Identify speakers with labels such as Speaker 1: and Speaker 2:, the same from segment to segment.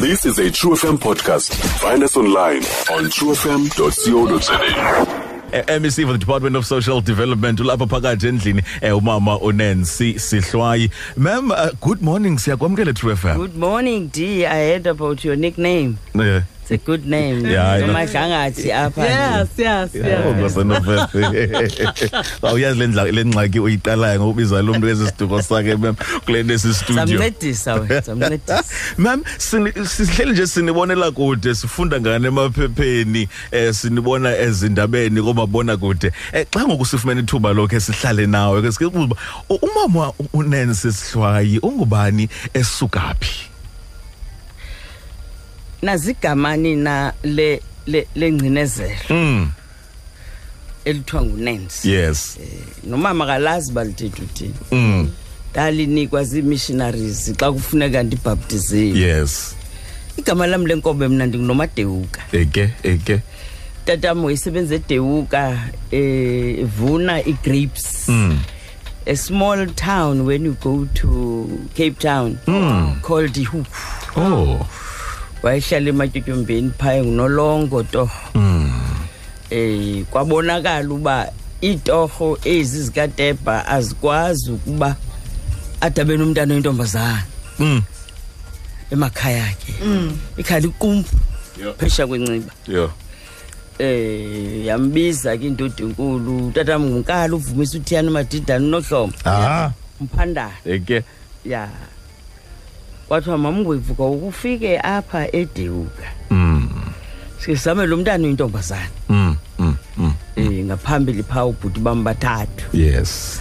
Speaker 1: This is a True FM podcast. Find us online on truefm.co.za.
Speaker 2: Eh, MEC for the Department of Social Development ulapha phakathi endlini eh, umama uNancy Sihlwayi ma'am uh, good morning siyakwamkela True FM
Speaker 3: Good morning, D. I heard about your nickname.
Speaker 2: Eh,
Speaker 3: It's a good name.
Speaker 2: Yeah, I know.
Speaker 3: Umadlangathi apha.
Speaker 4: Yes, yes,
Speaker 2: Oh,
Speaker 4: yes.
Speaker 2: Nkosi November. Awuyazi le ndla- le ngxaki uyiqalayo ngokubiza lo muntu esiduko sakhe ma'am kule nesi studio
Speaker 3: Samncedisa wena, samncedisa.
Speaker 2: Ma'am sini- sihleli nje sinibonela kude sifunda ngane emaphepheni eh sinibona ezindabeni komabona kude eh xa ngokusifumene ithuba lokho sihlale nawe ke sikuba umama uNancy Sihlwayi ungubani esuka phi
Speaker 3: Nazigamani na le le lengcinezelo
Speaker 2: Mm
Speaker 3: elithiwa nguNancy.
Speaker 2: yes
Speaker 3: Nomama kalazi balithethe uthini.
Speaker 2: mm
Speaker 3: Dalinikwa zii-missionaries xa kufuneka ndibhaptiziwe.
Speaker 2: yes
Speaker 3: Igama lam lenkobe mna ndinguNomadewuka.
Speaker 2: eke eke
Speaker 3: Tatamo isebenza eDewuka eh vuna igrapes.
Speaker 2: mm
Speaker 3: a small town when you go to Cape Town called Hook.
Speaker 2: oh
Speaker 3: Wayehlala ematyotyombeni phaya ngunolongo torho. Eh kwabonakala uba iitorho ezi zikatebha azikwazi ukuba adabe nomntana oyintombazana
Speaker 2: mm
Speaker 3: emakhaya akhe. Ikhaya liqumpu phesha kwenciba.
Speaker 2: yeah
Speaker 3: Eh yambiza ke indoda enkulu tatam ngunkala uvumisa uthiyana umadidana unohlomo
Speaker 2: ah
Speaker 3: mphandana.
Speaker 2: eke
Speaker 3: ya kwathiwa mamngwevuka ukufike apha edewuka
Speaker 2: mm
Speaker 3: sizame lo mntana uyintombazana
Speaker 2: mm mm mm.
Speaker 3: um ngaphambili phaa ubhuti bam bathathu
Speaker 2: yes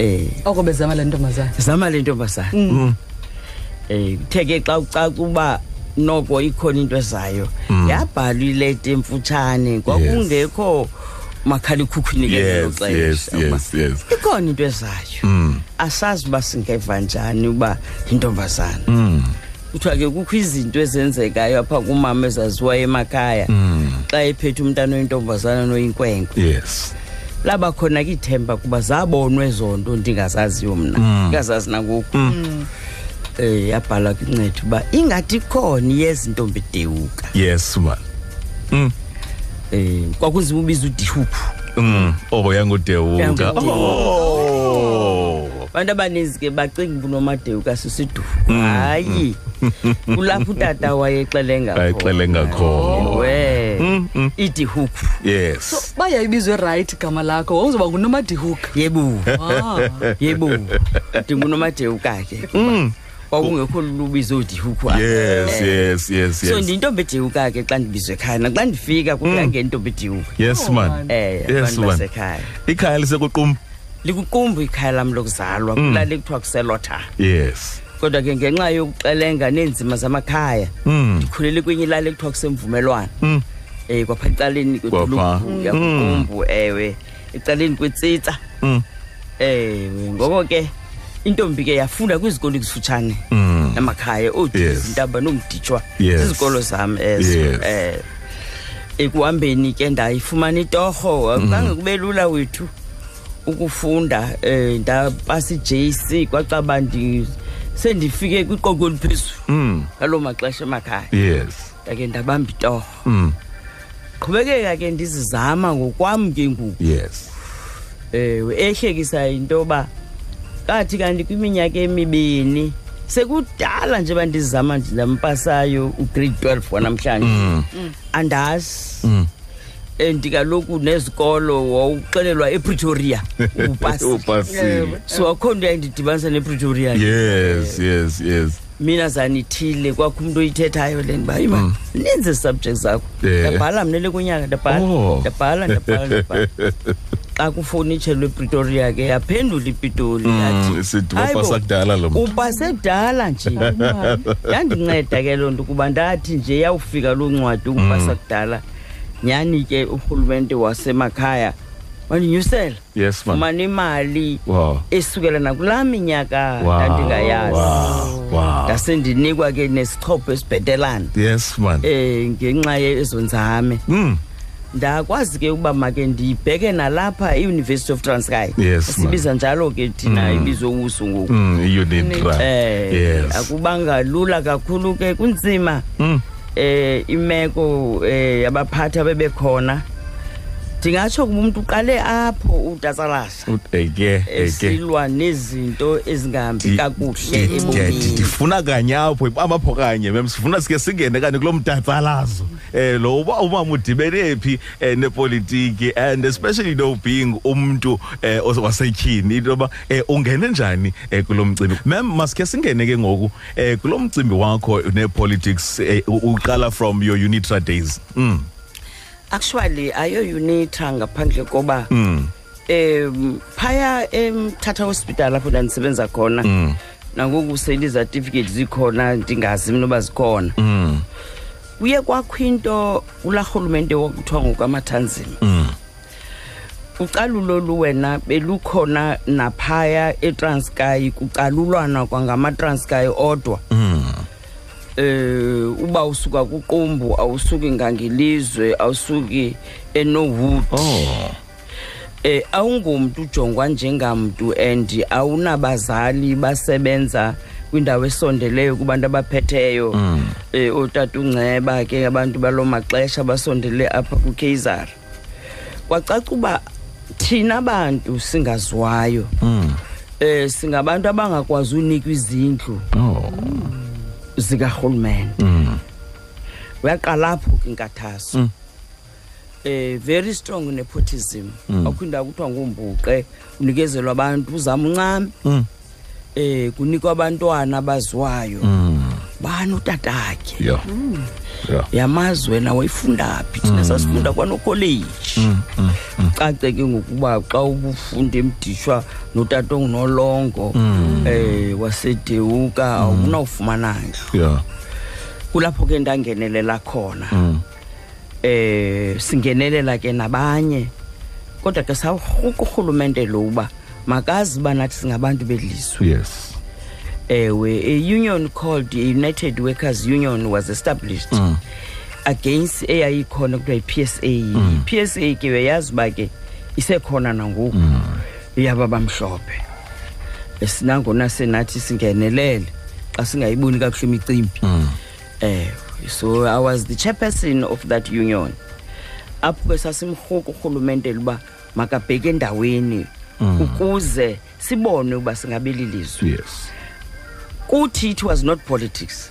Speaker 3: um
Speaker 4: Oko bezama le Mm. ntombazana.
Speaker 3: zama le ntombazana um kuthe ke xa ucaca uba noko ikhona into ezayo
Speaker 2: Mm.
Speaker 3: yabhalwa ileta emfutshane kwakungekho makhalikhukhwini ke ngelo
Speaker 2: yes yes
Speaker 3: xesha uba
Speaker 2: yes yes
Speaker 3: ikhona into ezayo
Speaker 2: mm
Speaker 3: asazi uba singeva njani uba yintombazana
Speaker 2: mm
Speaker 3: kuthiwa ke kukho izinto ezenzekayo apha kumama ezaziwayo emakhaya
Speaker 2: Mm.
Speaker 3: xa ephethe umntana oyintombazana noyinkwenkwe
Speaker 2: yes
Speaker 3: laba khona ke ithemba kuba zabonwa ezo nto ndingazaziyo mna
Speaker 2: Mm.
Speaker 3: ndingazazi nangoku um yabhalwa ke incetha uba ingathi khona yezintombi dewuka
Speaker 2: yes man mm
Speaker 3: um kwakunzima ubiza udihuphu
Speaker 2: mm oh yangudewuka
Speaker 3: Yangu Dewuka.
Speaker 2: oh
Speaker 3: abantu abaninzi ke bacinga uba unomadewuka sisiduku
Speaker 2: Mm.
Speaker 3: hayi kulapho utata wayexelenga
Speaker 2: Ayexelenga khona.
Speaker 3: Oh.
Speaker 2: Mm, mm.
Speaker 3: we idihuphu
Speaker 2: yes
Speaker 4: Bayayibizwe right igama lakho. Wawuzoba nguNomadihook.
Speaker 3: yebuka
Speaker 4: Ah.
Speaker 3: yebo ndingunomadewuka ke kuba kwakungekho lubizo odihuku
Speaker 2: Mm. yes yes yes Mm.
Speaker 3: eh. so
Speaker 2: yes
Speaker 3: ndiyintombi edewuka ke xa ndibizwe ekhaya naxa ndifika kuyange intombi ediwuka
Speaker 2: yes man
Speaker 3: eh
Speaker 2: yes
Speaker 3: abantu
Speaker 2: man
Speaker 3: basekhaya
Speaker 2: ikhaya lisekuqum
Speaker 3: likuqumbu ikhaya lam lokuzalwa
Speaker 2: Mm.
Speaker 3: kulale kuthiwa kuselotha
Speaker 2: yes
Speaker 3: kodwa ke ngenxa yokuxelenga neenzima zamakhaya
Speaker 2: mm
Speaker 3: ndikhulele kwenye ilali ekuthiwa kusemvumelwano
Speaker 2: Mm.
Speaker 3: um kwapha ecaleni
Speaker 2: Kwapha.
Speaker 3: kwedolophu yakuqumbu ewe ecaleni kwetsitsa
Speaker 2: mm
Speaker 3: ewe ngoko ke intombi ke yafunda kwizikolo ekufutshane
Speaker 2: Mm.
Speaker 3: namakhaya
Speaker 2: Yes.
Speaker 3: oodizintaba nomditshwa
Speaker 2: Yes.
Speaker 3: zizikolo zam ezo
Speaker 2: Yes.
Speaker 3: um ekuhambeni ke ndayifumana itorho
Speaker 2: Mm.
Speaker 3: kange kube lula wethu ukufunda um ndapasa i-j c kwacaba ndi- sendifike kwiqoko eliphezulu
Speaker 2: mm
Speaker 3: ngaloo maxesha emakhaya
Speaker 2: yes
Speaker 3: ndake ndabamba itorho
Speaker 2: mm
Speaker 3: qhubekeka ke ndizizama ngokwam ke ngoku
Speaker 2: yes
Speaker 3: ewe ehlekisa into yoba Eh, kathi kanti kwiminyaka emibini sekudala nje bandizama ndilampasayo ugrade 12 wanamhlanje andazi
Speaker 2: Mm.
Speaker 3: and kaloku nezikolo wawuxelelwa epretoria upasi
Speaker 2: upasile
Speaker 4: Yebo.
Speaker 3: so akho nto yayindidibanisa nepretoria
Speaker 2: yes yes yes
Speaker 3: mina zanithile kwakho umntu oyithethayo le ndiba
Speaker 2: Mm.
Speaker 3: ima ninzi subjects zakho
Speaker 2: Yeah.
Speaker 3: ndabhala mnele kunyaka ndabhala
Speaker 2: Oh.
Speaker 3: ndabhala ndabhala ndabhala xa kufonitshe lwepretoria ke yaphendula ipitoli
Speaker 2: Mm,
Speaker 3: yathi
Speaker 2: sithi wapasa
Speaker 3: "Hayibo,
Speaker 2: kudala lo muntu."
Speaker 3: upasedala nje yandinceda ke loo nto kuba ndathi nje yawufika loo ncwadi
Speaker 2: Mm.
Speaker 3: ukupasa kudala nyhani ke urhulumente wasemakhaya wandinyusela
Speaker 2: yes man
Speaker 3: fumana imali
Speaker 2: wow
Speaker 3: esukela nakulaa minyaka
Speaker 2: wow
Speaker 3: ndandingayazi
Speaker 2: wow wow
Speaker 3: ndasendinikwa ke nesixhopho esibhetelana
Speaker 2: yes man
Speaker 3: um ngenxa yezo nzame
Speaker 2: mm
Speaker 3: ndakwazi ke ukuba make ndibheke nalapha i-university of transkyi
Speaker 2: Yes, ma'am.
Speaker 3: sibiza njalo ke thina ibizo uso ngoku
Speaker 2: Mm, unitra
Speaker 3: eh
Speaker 2: yes Mm.
Speaker 3: akubanga lula kakhulu ke kunzima eh imeko eh abaphathi bebekhona ndingatsho kuba umuntu uqale apho utatsalasha
Speaker 2: eke eke
Speaker 3: esilwa nezinto ezingahambi kakuhle ebomini
Speaker 2: eh, ndifuna kanye apho ibabapho kanye mem sifuna sike singene kanye kulo mdatsalazo um lo uba umama udibene phi um nepolitiki and especially you know being umntu um wasetyhini into yoba um ungene njani um kulo mcimbi mem masikhe singene ke ngoku um kulo mcimbi wakho nepolitics eh, u- uqala from your unitra days mm.
Speaker 3: actually ayo unitra ngaphandle koba
Speaker 2: Mm.
Speaker 3: um phaya emthatha hospital apho ndandisebenza khona
Speaker 2: Mm.
Speaker 3: nangoku selizatifiketi zikhona ndingazi mnoba zikhona
Speaker 2: Mm.
Speaker 3: kuye kwakho into kulaa rhulumente wokuthiwa ngokwamathanzima
Speaker 2: Mm.
Speaker 3: ucalulo luwena belukhona naphaya etranskayi kucalulwana kwangamatranskayi odwa
Speaker 2: mm.
Speaker 3: um uba usuka kuqumbu awusuki ngangelizwe awusuki enowood
Speaker 2: oh
Speaker 3: eh awungumntu ujongwa njengamntu and awunabazali basebenza kwindawo esondeleyo kubantu abaphetheyo eh otata uNceba ke abantu balomaxesha basondele apha kuKaiser kwacaca uba thina bantu singaziwayo
Speaker 2: mm.
Speaker 3: eh singabantu abangakwazi unikwa izindlu
Speaker 2: oh
Speaker 3: zikarhulumente
Speaker 2: mm.
Speaker 3: uyaqalapho ke inkathazo mm. eh very strong nepotism
Speaker 2: Mm.
Speaker 3: akho indawo kuthiwa ngumbuqe unikezelwa abantu uzama uncame
Speaker 2: Mm.
Speaker 3: eh kunikwa abantwana abaziwayo
Speaker 2: Mm.
Speaker 3: bani utatakhe
Speaker 2: yeah
Speaker 3: Mm.
Speaker 2: yeah
Speaker 3: yamazwe nawe ifunda phi thina sasifunda kwanokholeji cace ke ngokuba xa ubufunda emdishwa notata ongunolongo eh wasedewuka awunawufumana ndlu
Speaker 2: yeah
Speaker 3: kulapho ke ndangenelela khona
Speaker 2: mm.
Speaker 3: eh singenelela ke nabanye kodwa ke sawurhuqa urhulumente lo uba makazi uba nathi singabantu belizwe
Speaker 2: yes
Speaker 3: ewe Eh, a union called the united workers union was established mm. against eyayikhona kuthiwa yi-p s a i-p s a ke uyayazi uba ke isekhona nangoku iyaba bamhlophe esinangona senathi singenelele xa singayiboni kakuhle imicimbi eh so i was the chairperson of that union apho ke sasimrhuku urhulumente luba makabheke endaweni ukuze sibone ukuba singabeli lizwe
Speaker 2: yes
Speaker 3: kuthi it was not politics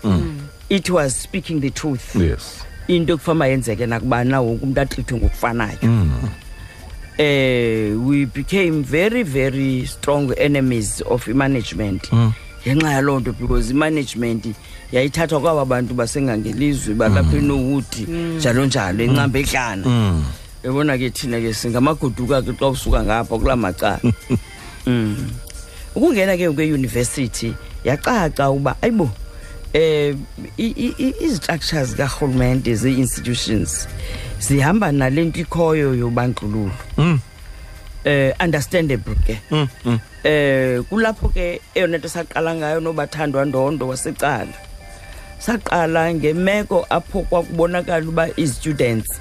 Speaker 3: it was speaking the truth
Speaker 2: yes
Speaker 3: into ekufanele uba yenzeke nakubana wonke umntu atrithwe ngokufanayo eh we became very very strong enemies of i-management ngenxa yaloo nto because i-management yayithathwa kwaba bantu basengangelizwe balapha enowood njalo njalo encamba edlana yabona ke thina ke singamagoduka ke xa usuka ngapha kulaa macala Mm. ukungena ke kweyunivesithi yacaca uba ayibo eh i- i- i- izistructures karhulumente ze-institutions zihamba nale nto ikhoyo yobandlululo eh understandable ke eh kulapho ke eyona nto saqala ngayo nobathandwa ndondo wasecala saqala ngemeko apho kwakubonakala uba izistudents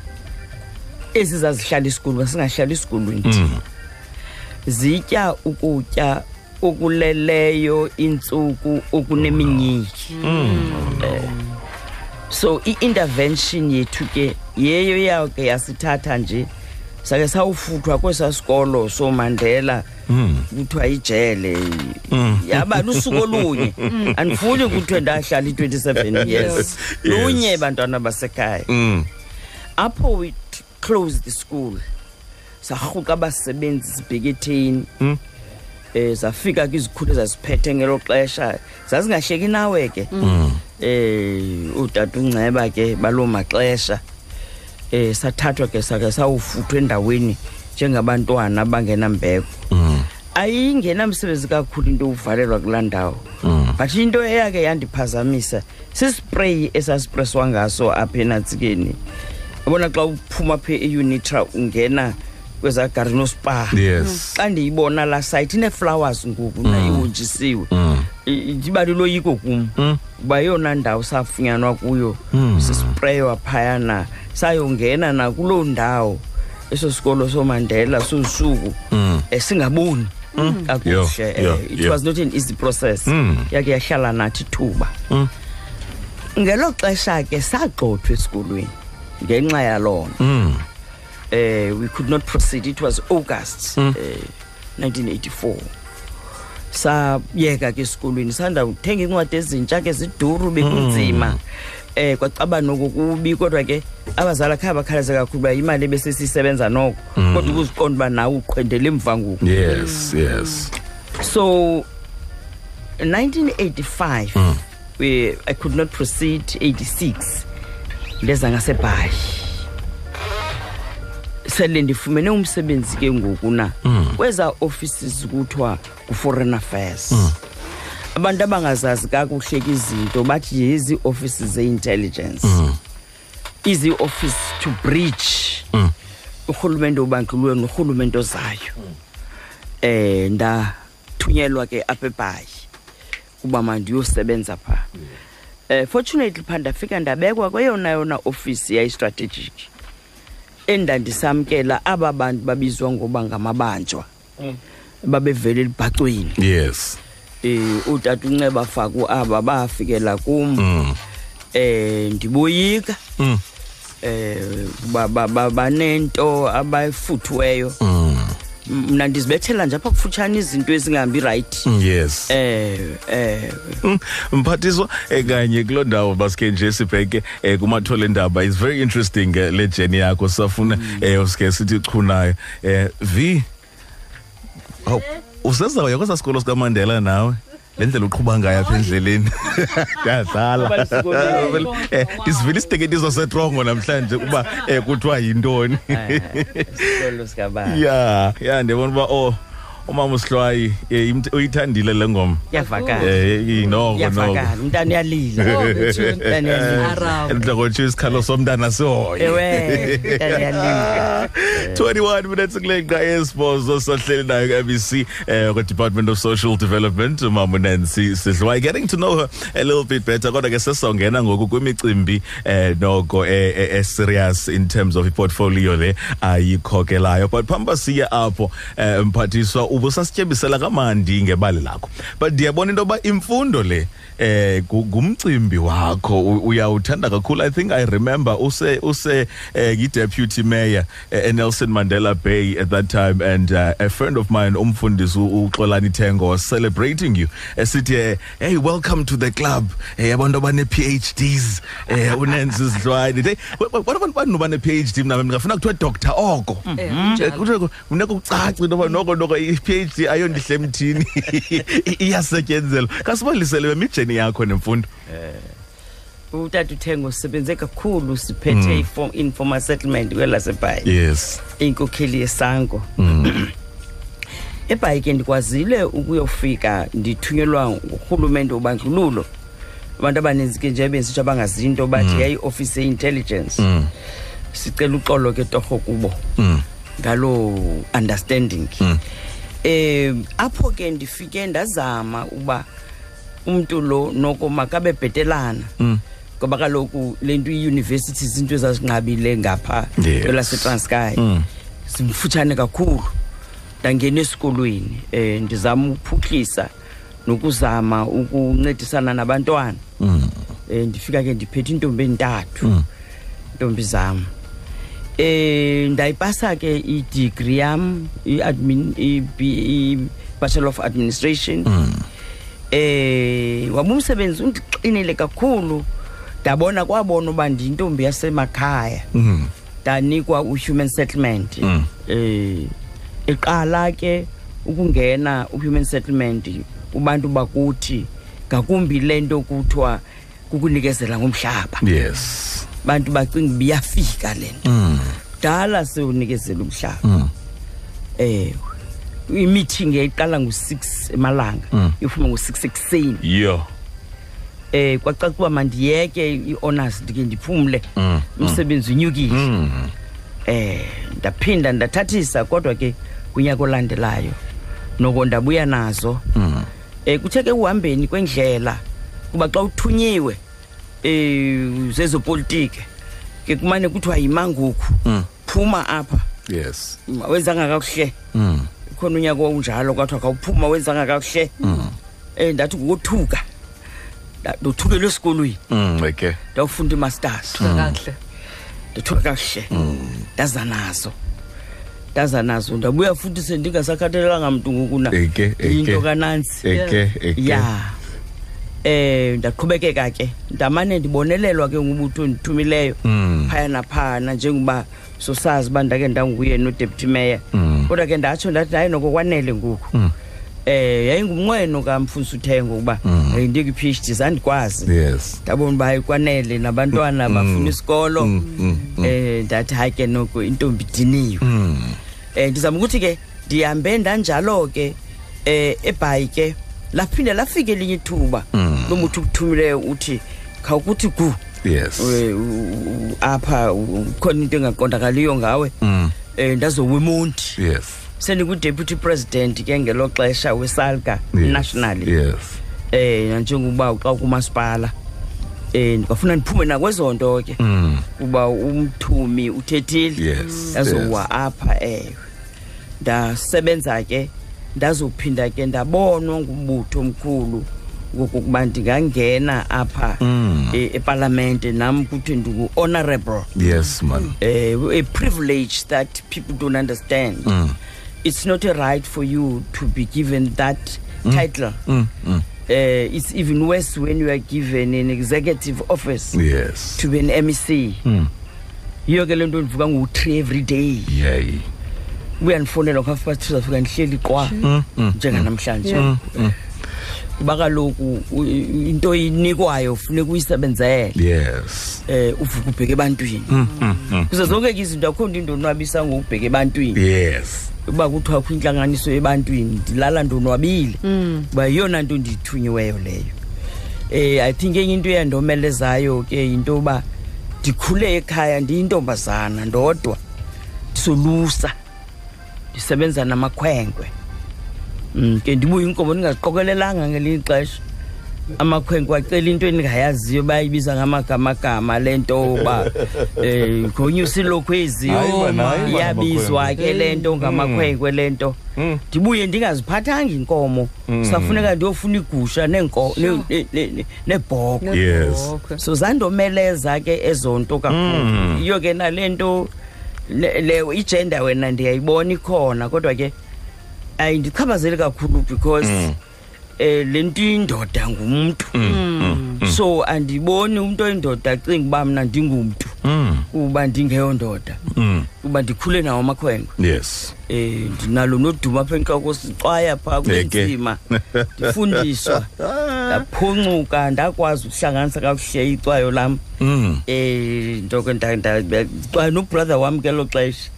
Speaker 3: ezizazihlala isikolo basingahlali isikolweni zitya ukutya okuleleyo intsuku okuneminyiki Eh, so i-intervention yethu ke yeyo yake yasithatha nje sake sawufuthwa kwesaa sikolo somandela kuthiwa ijele yaba lusuku olunye andifuni kuthiwe ndahlala i-27 years
Speaker 2: Yes.
Speaker 3: lunye bantwana basekhaya
Speaker 2: mm.
Speaker 3: apho we t- closed the school sarhuqa abasebenzi sibheketheni um zafika kwizikhulu ezaziphethe ngelo xesha zazingahleki nawe ke um utata unceba ke baloo maxesha um sathathwa ke sake sawufuthwa endaweni njengabantwana abangenambeko ayingenamsebenzi kakhulu into yokuvalelwa kulaa ndawo but into eyake yandiphazamisa sispreyi esasipreswa ngaso apha enantsikeni yabona xa uphuma phe eunitra ungena kwezaa garino spa
Speaker 2: yes
Speaker 3: xa ndiyibona laa sayithi inee-flowers ngoku nayiwotshisiwe i- ndiba luloyiko kum uba yeyona ndawo safunyanwa kuyo sispreywa phayana sayongena nakuloo ndawo eso sikolo somandela sosuku um singaboni kakuhle
Speaker 2: Yho,
Speaker 3: eh,
Speaker 2: yho,
Speaker 3: it
Speaker 2: yho.
Speaker 3: was not an easy process yake yahlala nathi thuba ngelo xesha ke sagxothwa esikolweni ngenxa yaloo nto
Speaker 2: Mm.
Speaker 3: eh, we could not proceed it was august eh, 1984 sayeka ke esikolweni sanda uthenga iincwadi ezintsha ke ziduru bekunzima eh kwacaba noko kubi kodwa ke abazali akhe bakhalaze kakhulu uba imali ebesesiyisebenza noko kodwa ukuziqonda uba nawe uqhwendele emva ngoku
Speaker 2: yes yes
Speaker 3: so 1985 we, i could not proceed 86 ndeza ngasebhayi sele ndifumene umsebenzi ke ngoku na kweza offices kuthiwa ku-foreign affairs abantu abangazazi kakuhle ke izinto bathi yezi offices ze-intelligence izi-office to breach urhulumente obantluliwe norhulumente ozayo eh ndathunyelwa ke apha ebhayi kuba mandiyosebenza phaa um fortunately phaa ndafika ndabekwa kweyona yona ofisi yayistrategic endandisamkela aba bantu babizwa ngoba ngamabanjwa babevele elibhacweni
Speaker 2: yes
Speaker 3: um utata unceba faku aba bafikela kum eh ndiboyika eh ba- ba- ba- banento abayifuthiweyo mna ndizibethela nje apha kufutshane izinto ezingahambi rayithi
Speaker 2: Mm. yes
Speaker 3: eh eh
Speaker 2: Mm, mphathiswa eh, kanye kuloo ndawo basike nje sibheke um kumathole endaba is very interesting eh, le jeni yakho safuna um sike sithi chunayo um v oh, awu, usezawuya kwesaa sikolo sikamandela nawe le ndlela uqhuba ngayo apha endleleni ndiyadlala
Speaker 3: Abalisikolo.
Speaker 2: Eh, ndisivile isiteketiso setrongo namhlanje uba um kuthiwa yintoni
Speaker 3: isikolo sikabani
Speaker 2: ya ya ndiyabona uba o umama usihlwayi eh, imth- uyithandile le ngoma
Speaker 3: kuyavakala
Speaker 2: Eh, noko noko
Speaker 3: kuyavakala umntana uyalila
Speaker 4: Oh, Bethu.
Speaker 3: umntana uyalila
Speaker 4: Araw.
Speaker 2: ndlakotshiwa isikhalo somntana sihoye
Speaker 3: ewe umntana uyalila
Speaker 2: 21 minutes kuleqa esibhozo sahleli nayo ku-abc um kwedepartment of social development umama unancy sidliwayo getting to know her a little bit better kodwa ke sesizawungena ngoku kwimicimbi um noko eh, eh, eserious in terms of iportfolio le ayikhokelayo but phambi uba siye apho um mphathiswa ubusasityebisela kamandi ngebali lakho but ndiyabona into yoba imfundo le eh gu- ngumcimbi wakho u- uyawuthanda kakhulu i think i remember use use eh, deputy mayor eh, Nelson Mandela Bay at that time and uh, a friend of mine umfundisi u- uXolani Tengo was celebrating you esithi eh, hey welcome to the club eh abantu abane PhDs eh unenzi isidlwane hey wh- wh- what abantu bani bane PhD mina ngifuna kuthiwe doctor oko
Speaker 4: Eh,
Speaker 2: Eh,
Speaker 3: Mm-hmm.
Speaker 4: kunjalo.
Speaker 2: kuthiwe funeka ucace into yoba noko noko i-phd ayondihle emthini I- iyasetyenzelwa kasibalisele bemijeni yakho nemfundo
Speaker 3: utata uthengo usebenze kakhulu siphethe i-form- informal settlement kwelasebhayi
Speaker 2: yes
Speaker 3: inkokheli yesango ebhayi ke ndikwazile ukuyofika ndithunyelwa ngurhulumente wobandlululo abantu abaninzi ke nje bensitsho abangaziyo into bathi yayiofisi ye-intelligence sicela uxolo ke torho kubo
Speaker 2: Mm.
Speaker 3: ngaloo understanding um apho ke ndifike ndazama uba umntu lo noko makabe bhetelana ngoba kaloku le nto iiyunivesithi zinto ezazinqabile ngapha
Speaker 2: Yes.
Speaker 3: kwelasetranskai simfutshane kakhulu ndangena esikolweni um ndizama ukuphuhlisa nokuzama ukuncedisana nabantwana
Speaker 2: Mm.
Speaker 3: um ndifika ke ndiphethe iintombi entathu iintombi zam um ndayipasa ke idegree yam i-admin- i- B- i- bachelor of administration eh wabe umsebenzi undixinile kakhulu ndabona kwabona uba ndiyintombi yasemakhaya
Speaker 2: Mm.
Speaker 3: ndanikwa u-human settlement eh eqala ke ukungena u-human settlement ubantu bakuthi ngakumbi le nto kuthiwa kukunikezela ngomhlaba
Speaker 2: yes Mm.
Speaker 3: bantu bacinga uba iyafika le nto dala sewunikezela umhlaba eh imeeting yayiqala ngo-six emalanga ifuma ngo-six ekuseni
Speaker 2: yo
Speaker 3: eh kwacaca uba mandiyeke i-honors ndike ndiphumle
Speaker 2: Mm.
Speaker 3: umsebenzi unyukile eh ndaphinda
Speaker 2: Mm.
Speaker 3: ndathathisa kodwa ke kunyaka olandelayo noko ndabuya nazo eh kuthe ke uhambeni kwendlela kuba xa uthunyiwe eh zezopolitike ke kumane kuthiwa yimanguku phuma apha
Speaker 2: yes
Speaker 3: wenzanga kakuhle
Speaker 2: mm.
Speaker 3: khona unyaka onjalo kwathiwa kawuphuma wenzanga kakuhle
Speaker 2: Mm.
Speaker 3: eh ndathi ngokuthuka Nda- ndothukela esikolweni
Speaker 2: Mm, okay
Speaker 3: ndawufunda imasters
Speaker 4: kakuhle
Speaker 3: ndithuka kakuhle ndaza nazo ndaza nazo ndabuya futhi sendingasakhathalelanga mntu ngokuna
Speaker 2: Eke, eke.
Speaker 3: yinto kananzi
Speaker 2: eke eke
Speaker 3: ya eh ndaqhubekeka ke ndamane ndibonelelwa ke ngubutho ndithumileyo
Speaker 2: Mm.
Speaker 3: phayana phana njengoba sosazi uba ndake ndanguye nodeputy mayor
Speaker 2: Mm.
Speaker 3: kodwa ke ndatsho ndathi hayi noko kwanele ngoku
Speaker 2: Hmm.
Speaker 3: um yayingumnqweno kamfundisi uthengo ukuba
Speaker 2: Hmm.
Speaker 3: hayi ndiye kwi-phd zandikwazi
Speaker 2: yes
Speaker 3: ndabona uba hayi kwanele nabantwana bafuna isikolo
Speaker 2: Mm, mm,
Speaker 3: eh ndathi hayi ke noko intombi idiniwe
Speaker 2: mm.
Speaker 3: eh ndizama ukuthi ke ndihambe ndanjalo ke eh ebhayi ke laphinde lafika elinye ithuba
Speaker 2: Mm.
Speaker 3: lomuthi ukuthumileyo uthi khawukuthi gu
Speaker 2: yes
Speaker 3: we- u- u- apha u- u- khona into engaqondakaliyo ngawe
Speaker 2: mm.
Speaker 3: um ndazowemonti
Speaker 2: yes
Speaker 3: sendingudeputy president ke ngelo xesha wesalga
Speaker 2: yes
Speaker 3: nationally
Speaker 2: yes
Speaker 3: eh nanjengokuba xa kumasipala eh ngafuna ndiphume nakwezo nto ke
Speaker 2: mm.
Speaker 3: kuba umthumi uthethile
Speaker 2: Yes,
Speaker 3: ndazowa
Speaker 2: yes.
Speaker 3: apha ewe ndasebenza ke ndazophinda ke ndabonwa ngumbutho omkhulu ngokokuba ndingangena apha
Speaker 2: Mm.
Speaker 3: e- epalamente nam kuthi ndingu-honorable
Speaker 2: yes man
Speaker 3: uh, a privilege that people don't understand
Speaker 2: Mm.
Speaker 3: it's not a right for you to be given that title
Speaker 2: Mm. Mm.
Speaker 3: uh, it's even worse when you are given an executive office
Speaker 2: yes
Speaker 3: to be an mec
Speaker 2: Mm.
Speaker 3: yiyo ke le nto ndivuka ngu-three every day
Speaker 2: yay
Speaker 3: uyandifowunela ngohafu past two zafika ndihleli kwa
Speaker 2: mm. mm.
Speaker 3: njenganamhlanje
Speaker 2: Mm. Mm.
Speaker 3: kuba kaloku u- i- into inikwayo funeka uyisebenzele
Speaker 2: yes
Speaker 3: um uvuka ubheke ebantwini
Speaker 2: mm. Mm. Mm.
Speaker 3: kuze zonke ke izinto akho nto indonwabisa ngokubheka ebantwini
Speaker 2: yes
Speaker 3: uba kuthiwa kho intlanganiso ebantwini ndilala ndonwabile uba yiyona nto ndiyithunyiweyo leyo um i think enye into eyandomelezayo ke yinto yoba ndikhule ekhaya ndiyintombazana ndodwa ndisolusa ndisebenza namakhwenkwe um ke ndibuye inkomo ndingaziqokelelanga ngelinye ixesha amakhwenkwe acela into endingayaziyo bayibiza ngamagamagama le nto uba um gonyusa ilokhwezi
Speaker 2: Hayi bana, hayi bana
Speaker 3: iyabizwa ke le nto ngamakhwenkwe le nto
Speaker 2: Mm.
Speaker 3: ndibuye ndingaziphathanga iinkomo safuneka ndiyofuna igusha neenko- ne- ne- ne- ne- neebhokhwe
Speaker 2: Yes.
Speaker 4: Nebhokhwe.
Speaker 3: so zandomeleza ke ezo nto kakhulu
Speaker 2: Mm.
Speaker 3: iyo ke nale nto le- leyo ijenda wena ndiyayibona ikhona kodwa ke ayindichaphazeli kakhulu because
Speaker 2: Mm.
Speaker 3: um le nto indoda ngumntu
Speaker 2: mm,
Speaker 3: Mm. so andiboni umntu oyindoda acinga uba mna ndingumntu
Speaker 2: Mm.
Speaker 3: kuba ndingeyo ndoda
Speaker 2: Mm.
Speaker 3: kuba ndikhule nawo amakhwenkwe
Speaker 2: yes
Speaker 3: um ndinalo noduma apha entloko sicwaya phaa
Speaker 2: Eke.
Speaker 3: kunzima ndifundiswa
Speaker 2: Ah.
Speaker 3: ndaphuncuka ndakwazi ukuhlanganisa kakuhle icwayo lam
Speaker 2: mm.
Speaker 3: um ntoko xa nobrother wam ke lo xesha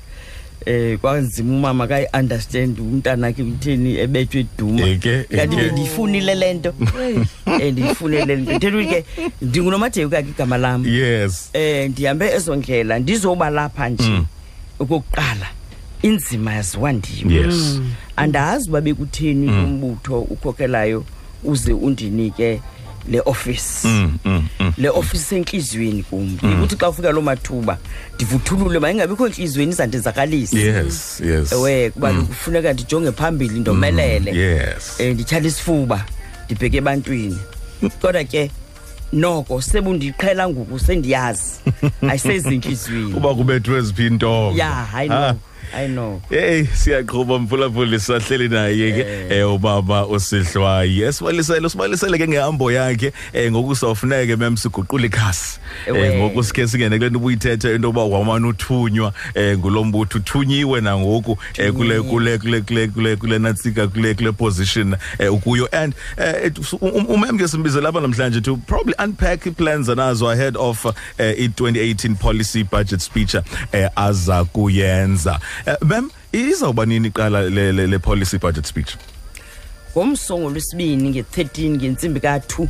Speaker 3: um kwanzima umama kayi-understand umntanakhe utheni ebetshwe iduma
Speaker 2: Eke,
Speaker 3: kanti
Speaker 2: eke.
Speaker 3: bendiyifunile le nto um ndiyifunile le nto ndithetha ukuthi ke ndingunomadeyu kakhe igama lam
Speaker 2: yes
Speaker 3: eh ndihambe ezo ndlela ndizoba lapha nje
Speaker 2: Mm.
Speaker 3: okokuqala inzima yaziwa ndim Mm.
Speaker 2: yes Mm.
Speaker 3: andazi uba bekutheni umbutho ukhokelayo uze undinike le office
Speaker 2: mm. Mm. Mm.
Speaker 3: le office entliziyweni kum ukuthi xa ufika loo mathuba ndivuthulule mayingabikho entliziyweni izandenzakalisa
Speaker 2: yes yes Mm,
Speaker 3: ewe kuba kufuneka ndijonge phambili ndomelele
Speaker 2: yes
Speaker 3: eh ndityhala isifuba ndibheke ebantwini kodwa ke noko sebundiqhela ngoku sendiyazi ayisezintliziyweni
Speaker 2: kuba kubethwe eziphi intonga
Speaker 3: ya i know i know
Speaker 2: Ah. Hey siyaqhubha mphulaphuli sahleli naye ke eh ubaba usihlwayi esibalisele usibalisele ke ngehambo yakhe eh ngokusawufuneke mem siguqula ikhasi eh
Speaker 3: Ewe.
Speaker 2: ngokusikhe singene kule nto ubuyithethe into yoba wamane uthunywa eh ngulombutho uthunyiwe nangoku eh kule kule kule kule kule kule natsika kule kule position eh ukuyo and eh, it- su- um- umem ke simbizela apha namhlanje to probably unpack plans anazo ahead of eh, i-2018 policy budget speech eh aza kuyenza Eh, mem izawuba nini iqala le, le, le policy budget speech
Speaker 3: ngomsongo lwesibini nge-13 ngentsimbi ka-2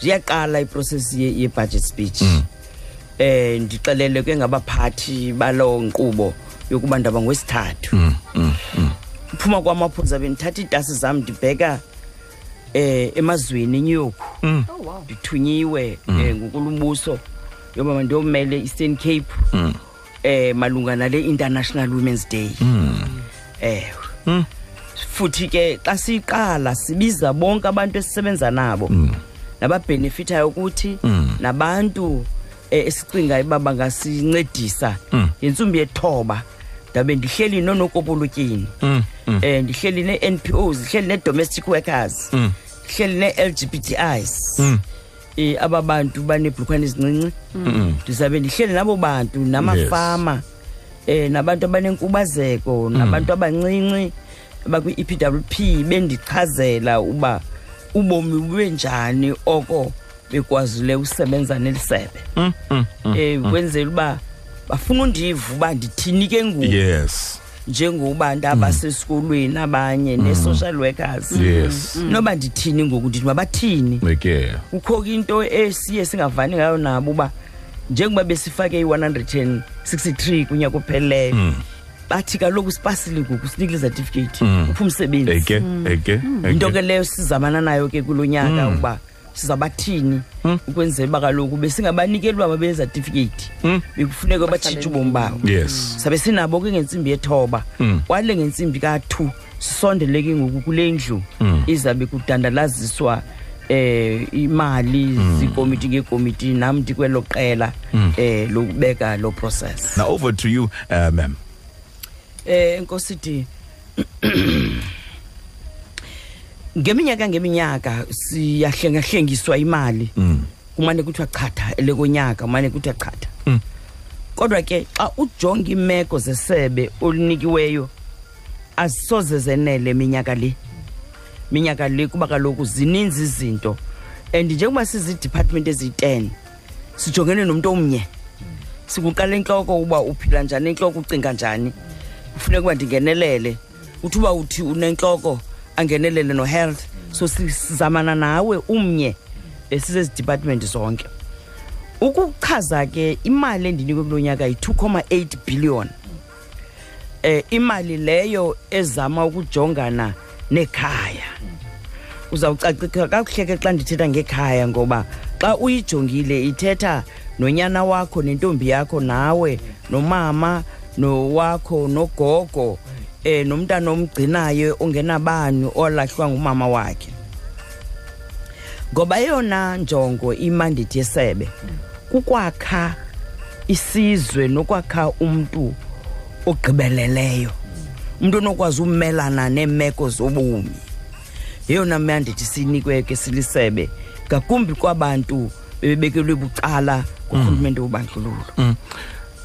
Speaker 3: ziyaqala iprocess ye- ye-budget speech eh ndixelele ke ngabaphathi baloo nkqubo yokuba ndaba ngwesithathu uphuma kwamaphuza bendithatha iitasi zam ndibheka eh emazweni eNew York
Speaker 4: oh wow
Speaker 3: ndithunyiwe eh, ngukulumbuso yoba mandiyomele Eastern Cape eh malunga nale International Women's Day eh futhi ke xa siqala sibiza bonke abantu esisebenza nabo nababenefitayo ukuthi nabantu eh, esicinga uba bangasincedisa ngentsimbi yethoba ndabe ndihleli nonokopolityini
Speaker 2: Mm.
Speaker 3: eh ndihleli ne-npos ndihleli ne-domestic workers ndihleli ne-lgbtis um aba bantu baneebhulukhwane ezincinci ndizabe ndihleli nabo bantu namafama um nabantu abanenkubazeko nabantu abancinci abakwi-epwp bendichazela uba ubomi bube njani oko bekwazile usebenza neli sebe um kwenzela uba bafuna undiva uba ndithini ke ngoku
Speaker 2: yes
Speaker 3: njengoba
Speaker 2: Mm.
Speaker 3: ndaba sesikolweni abanye ne-social workers Mm.
Speaker 2: Yes. Mm.
Speaker 3: noba ndithini ngoku ndithi mabathini
Speaker 2: like
Speaker 3: kukho ke into esiye singavani ngayo nabo uba njengoba besifake i-163 kunyaka opheleleyo
Speaker 2: Mm.
Speaker 3: bathi kaloku sipasile ngoku sinike izertifikhethi upha umsebenzi
Speaker 2: Mm. eke eke
Speaker 3: Mm.
Speaker 2: Mm.
Speaker 3: into ke leyo sizamana nayo ke kulo nyaka uba sizabathini ukwenzela uba kaloku besingabanikeli uba babezertifikhethi bekufuneka batshintshe ubomi bawo
Speaker 2: Mm. yes
Speaker 3: Mm. sabe sinabo ke ngentsimbi yethoba kwale ngentsimbi ka-2 sisondele ke ngoku kule ndlu izabe kudandalaziswa eh imali zikomiti ngekomiti nam ndikwelo qela eh lokubeka lo process
Speaker 2: now over to you uh, ma'am
Speaker 3: eh enkosi D ngeminyaka ngeminyaka siyahlengahlengiswa imali kumane kuthiwa chatha elekonyaka kumane kuthiwa chatha kodwa ke xa ujonga imeko zesebe olinikiweyo azisoze zenele minyaka le minyaka le kuba kaloku zininzi izinto and njengoba sizidepartment eziyi-10 sijongene nomntu omnye sikuqala intloko uba uphila njani intloko ucinga njani kufuneka uba ndingenelele uthi uba uthi unentloko angenelele no-health so si- sizamana nawe umnye besizezidepartment zonke ukuchaza ke imali endinikwe kulo nyaka yi-2,8 billion eh imali leyo ezama ukujongana nekhaya uzawucacisa kakuhle ke xa ndithetha ngekhaya ngoba xa uyijongile ithetha nonyana wakho nentombi yakho nawe nomama nowakho nogogo eh nomntana omgcinayo ongenabani olahlwa ngumama wakhe ngoba eyona njongo imandithi yesebe kukwakha isizwe nokwakha umntu ogqibeleleyo umntu onokwazi umelana neemeko zobomi yeyona mandithi siyinikwe ke silisebe ngakumbi kwabantu bebebekelwe bucala kurhulumente wobandlululo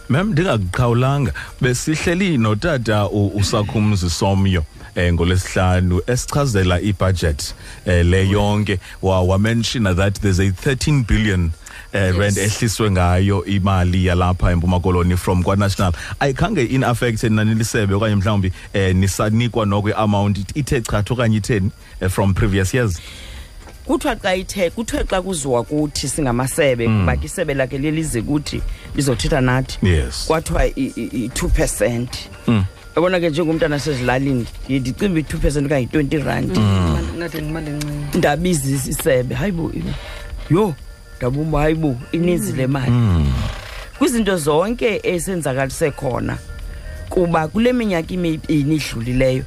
Speaker 2: ma'am ndingakuqhawulanga besihleli notata u- usakhumzi somyo um ngolwesihlanu esichazela ibhajethi um le yonke wa- wamenshina that there's a 13 billion Uh, rand ehliswe ngayo imali yalapha empuma koloni from kwanational ayikhange inaffecte nanilisebe okanye mhlawumbi um nisanikwa noko i-amount ithe chatha okanye itheni eh, from previous years
Speaker 3: kuthiwa xa ithe kuthiwe xa kuziwa kuthi singamasebe kuba ke isebe lakhe lelize kuthi lizothetha nathi
Speaker 2: Yes.
Speaker 3: kwathiwa i- i- i- i-two percent yabona ke njengomntana asezilalini ndiye ndicimba i-two percent okanye i-twenty rand
Speaker 4: ngathi imali encinci
Speaker 3: ndabiza is- isebe hayi bo i- yho ndabuba hayi bo ininzi le mali kwizinto zonke esenzakaliswe khona kuba kule minyaka imibini idlulileyo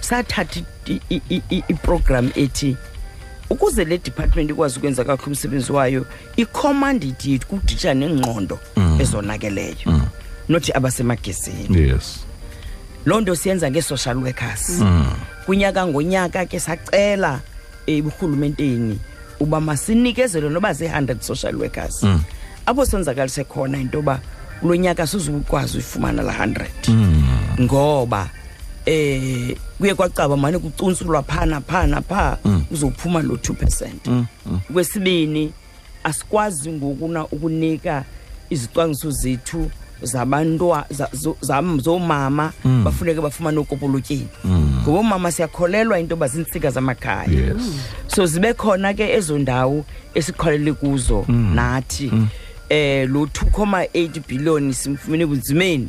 Speaker 3: sathatha i- i- i- i- iprogram ethi ukuze le department ikwazi ukwenza kakuhle umsebenzi wayo icommandit yethu kuditsha nengqondo ezonakeleyo nothi abasemagezini
Speaker 2: yes
Speaker 3: loo nto siyenza ngee-social workers kunyaka ngonyaka ke sacela eburhulumenteni uba masinikezelwe noba zii-hundred social workers apho senzakalise khona into yoba kulo nyaka sizukwazi uyifumana la hundred ngoba um kuye kwacaba mane kucuntsulwa phana phana phaa uzophuma lo two percent kwesibini asikwazi ngokuna ukunika izicwangciso zethu zabantwa za- zo- zam- zoomama bafuneke bafumane okopolotyeni ngoba umama siyakholelwa into yoba ziintsika zamakhaya Mm.
Speaker 2: yes
Speaker 3: so zibe khona ke ezo ndawo esikholele kuzo nathi eh lo 2.8 billion simfumene bunzimeni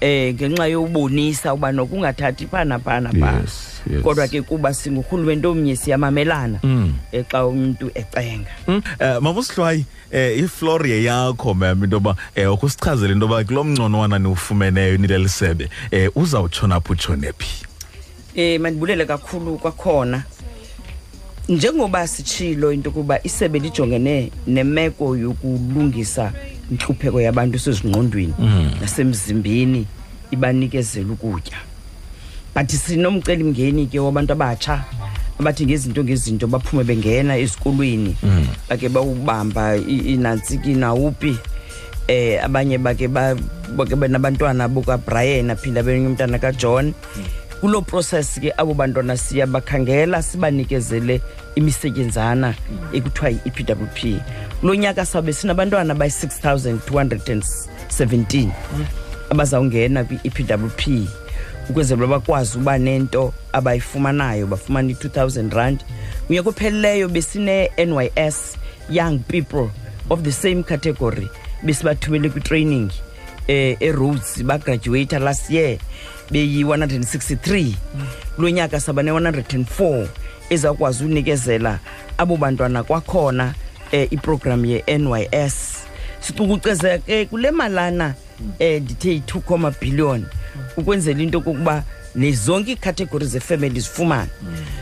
Speaker 3: eh ngenxa yobonisa uba nokungathathi phana phana phana
Speaker 5: Yes, yes.
Speaker 3: kodwa ke kuba singurhulumente omnye siyamamelana
Speaker 2: Mm.
Speaker 3: eh, xa umntu ecenga
Speaker 6: Hmm?
Speaker 2: Mm, eh, mama usihlwayi
Speaker 6: eh,
Speaker 2: um iflore yakho mam into yoba um ukusichazele into yoba kulo mngconowana niwufumeneyo nileli sebe
Speaker 6: Eh,
Speaker 2: um uzawutshona phi utshone phi
Speaker 3: eh mandibulele kakhulu kwakhona njengoba sitshilo into kuba isebe lijongene nemeko yokulungisa inhlupheko yabantu sezingqondweni
Speaker 5: Mm.
Speaker 3: nasemzimbeni ibanikezela ukutya but sinomcelimngeni ke wabantu abatsha abathi ngezinto ngezinto baphume bengena ezikolweni bake bawubamba i- inantsiki nawuphi eh abanye bake ba- bake benabantwana bukabrian aphinda abenye umntana kajohn kuloo process ke abo bantwana siyabakhangela sibanikezele imisetyenzana ekuthiwa yi-epw p kulo nyaka sabe sinabantwana bayi-6 217 abazawungena kwi-epwp ukwenzela uba bakwazi uba nento abayifumanayo bafumana i-2000 rand unyaka opheleleyo besine-nys young people of the same category besibathumele kwitraining eh eroads bagraduata last year beyi-163 kulo nyaka saba ne-104 ezakwazi unikezela abo bantwana kwakhona um iprogram ye-nys sicukuceza ke kule malana um ndithe yi-2 billion ukwenzela into kokuba nezonke iikhategori zefemeli zifumane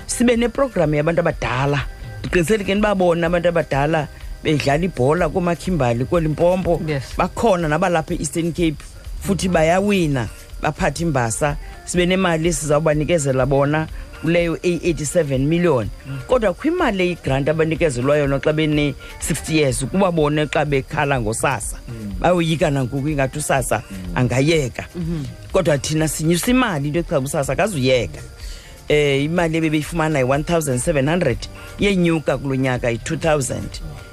Speaker 3: sibe neprogram yabantu abadala ndiqiniselekeni babona abantu abadala bedlala ibhola koomakhimbali kwelimpompo
Speaker 4: Yes.
Speaker 3: bakhona nabalapha e-eastern cape futhi bayawina baphatha imbasa sibe nemali esizawubanikezela bona kuleyo eyi-87 million kodwa kwimali eyigranti abanikezelwa yona xa bene-60 years kuba bona xa bekhala ngosasa bayoyika nangoku ingathi usasa angayeka kodwa thina sinyusa imali into echaba usasa akazuyeka eh imali ebebeyifumana yi-1700 yenyuka kulo nyaka yi-2000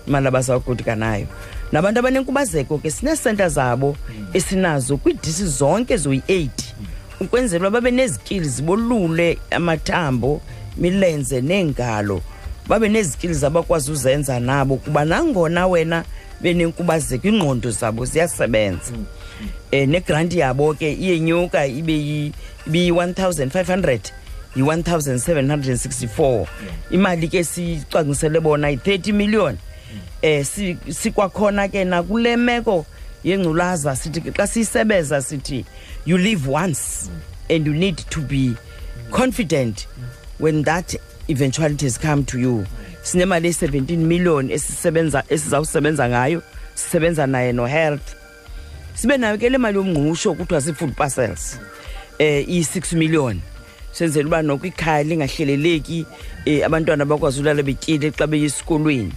Speaker 3: imali abasawugoduka nayo nabantu abanenkubazeko ke sineesenta zabo esinazo kwiidisi zonke zoyi-8 ukwenzela uba babe nezikili zibolule amathambo milenze neengalo babe nezikili zabakwazi uzenza nabo kuba nangona wena benenkubazeko ingqondo zabo ziyasebenza eh negrant yabo ke iyenyuka ibe yi- ibe yi-1500 yi-1764 imali ke sicwangisele bona yi-30 million eh si- sikwakhona ke nakule meko yengculaza sithi ke xa siyisebeza sithi you live once and you need to be confident when that eventuality has come to you sinemali ye-17 million esisebenza esizawusebenza ngayo sisebenza naye no-health sibe nayo ke le mali yomngqusho kuthiwa zii-food parcels eh iyi-6 million senzela uba nokwikhaya lingahleleleki eh, abantwana bakwazi ulala betyile xa beye esikolweni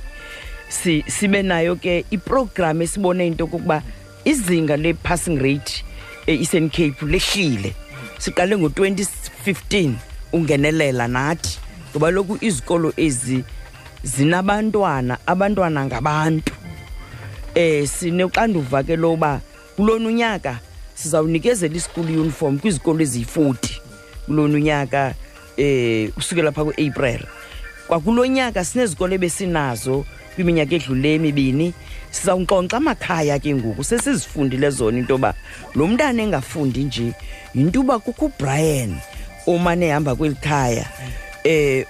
Speaker 3: si, sibe nayo ke iprogram esibone into kokuba izinga le-passing rate e-eastern cape lehlile siqale ngo-2015 ungenelela nathi ngoba loku izikolo ezi zinabantwana abantwana ngabantu eh sinoxanduva ke loba kulona unyaka sizawunikezela isikulu uniform kwizikolo eziyi-40 kulona unyaka eh usukela pha ku-april kwakulo nyaka sinezikolo ebesinazo kwiminyaka edlule emibini sizawunxonxa amakhaya ke ngoku sesizifundile zona into yoba lo mntana engafundi nje yinto uba kukho ubrian omane ehamba kweli khaya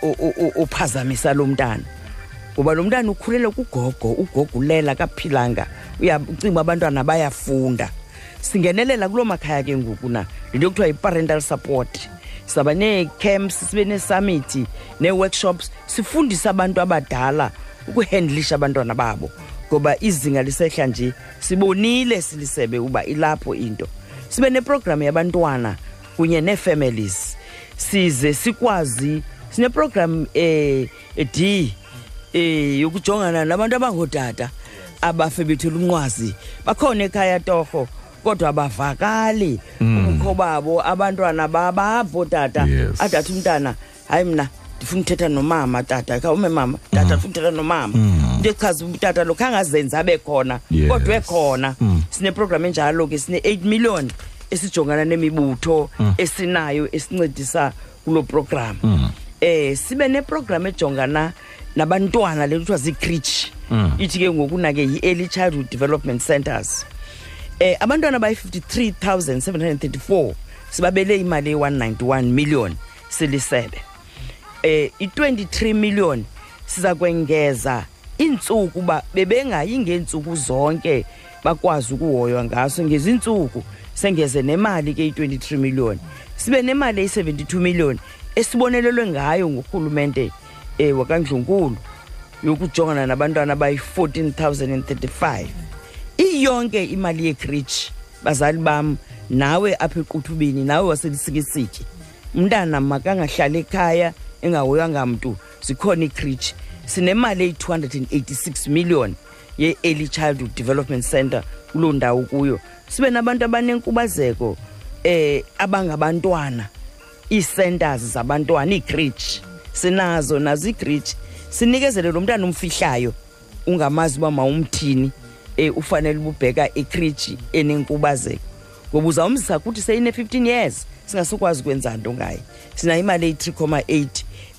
Speaker 3: um ophazamisa lo mntana ngoba lo mntana ukhulele kugogo ugogo ulela kaphilanga uya- ucinga uba abantwana bayafunda singenelela kuloo makhaya ke ngoku na lento yokuthiwa yi-parental support saba nee-camps sibe nee-summit nee-workshops sifundise abantu abadala ukuhendlisha abantwana babo ngoba izinga lisehla nje sibonile silisebe uba ilapho into sibe neprogram yabantwana kunye nee-families size sikwazi sineprogram eh, d eh yokujongana nabantu abangootata abafe bethula umnqwazi bakhona ekhaya torho kodwa abavakali ubukho babo abantwana babapho tata
Speaker 5: Yes.
Speaker 3: adathi umntana hayi mna ndifuna uthetha nomama tata khawume mama tata ndifuna uthetha nomama into echaza uba utata lokho angazenzi abe khona
Speaker 5: Yes.
Speaker 3: kodwa ekhona sineprogram enjalo ke sine-8 million esijongana nemibutho esinayo esincedisa kulo program eh sibe neprogram ejongana nabantwana le kuthiwa zii-critch ithi ke ngokuna ke yi-early childhood development centers eh abantwana bayi 53734 sibabele imali ye191 million silisebe eh i23 million siza kwengeza intsuku ba bebengayi ngeentsuku zonke bakwazi ukuhoywa ngaso ngezintsuku sengeze nemali ke i23 million sibe nemali ye72 million esibonelelwe ngayo ngurhulumente eh wakandlunkulu yokujongana nabantwana bayi 14035 iyonke imali yekrich bazali bam nawe apha equthubeni nawe waselisikisiki umntana makangahlali ekhaya engahoyanga mntu zikhona ikrich sinemali eyi-286 million ye-early childhood development center kuloo ndawo kuyo sibe nabantu abanenkubazeko eh abangabantwana ii-centers zabantwana iigrich sinazo nazo iigrich sinikezele lo mntana umfihlayo ungamazi uba mawumthini um ufanele ububheka ikriji enenkubazeko ngoba uzawumzisa kuthi seyine-15 years singasukwazi ukwenza nto ngayo sinayo imali eyi-3 8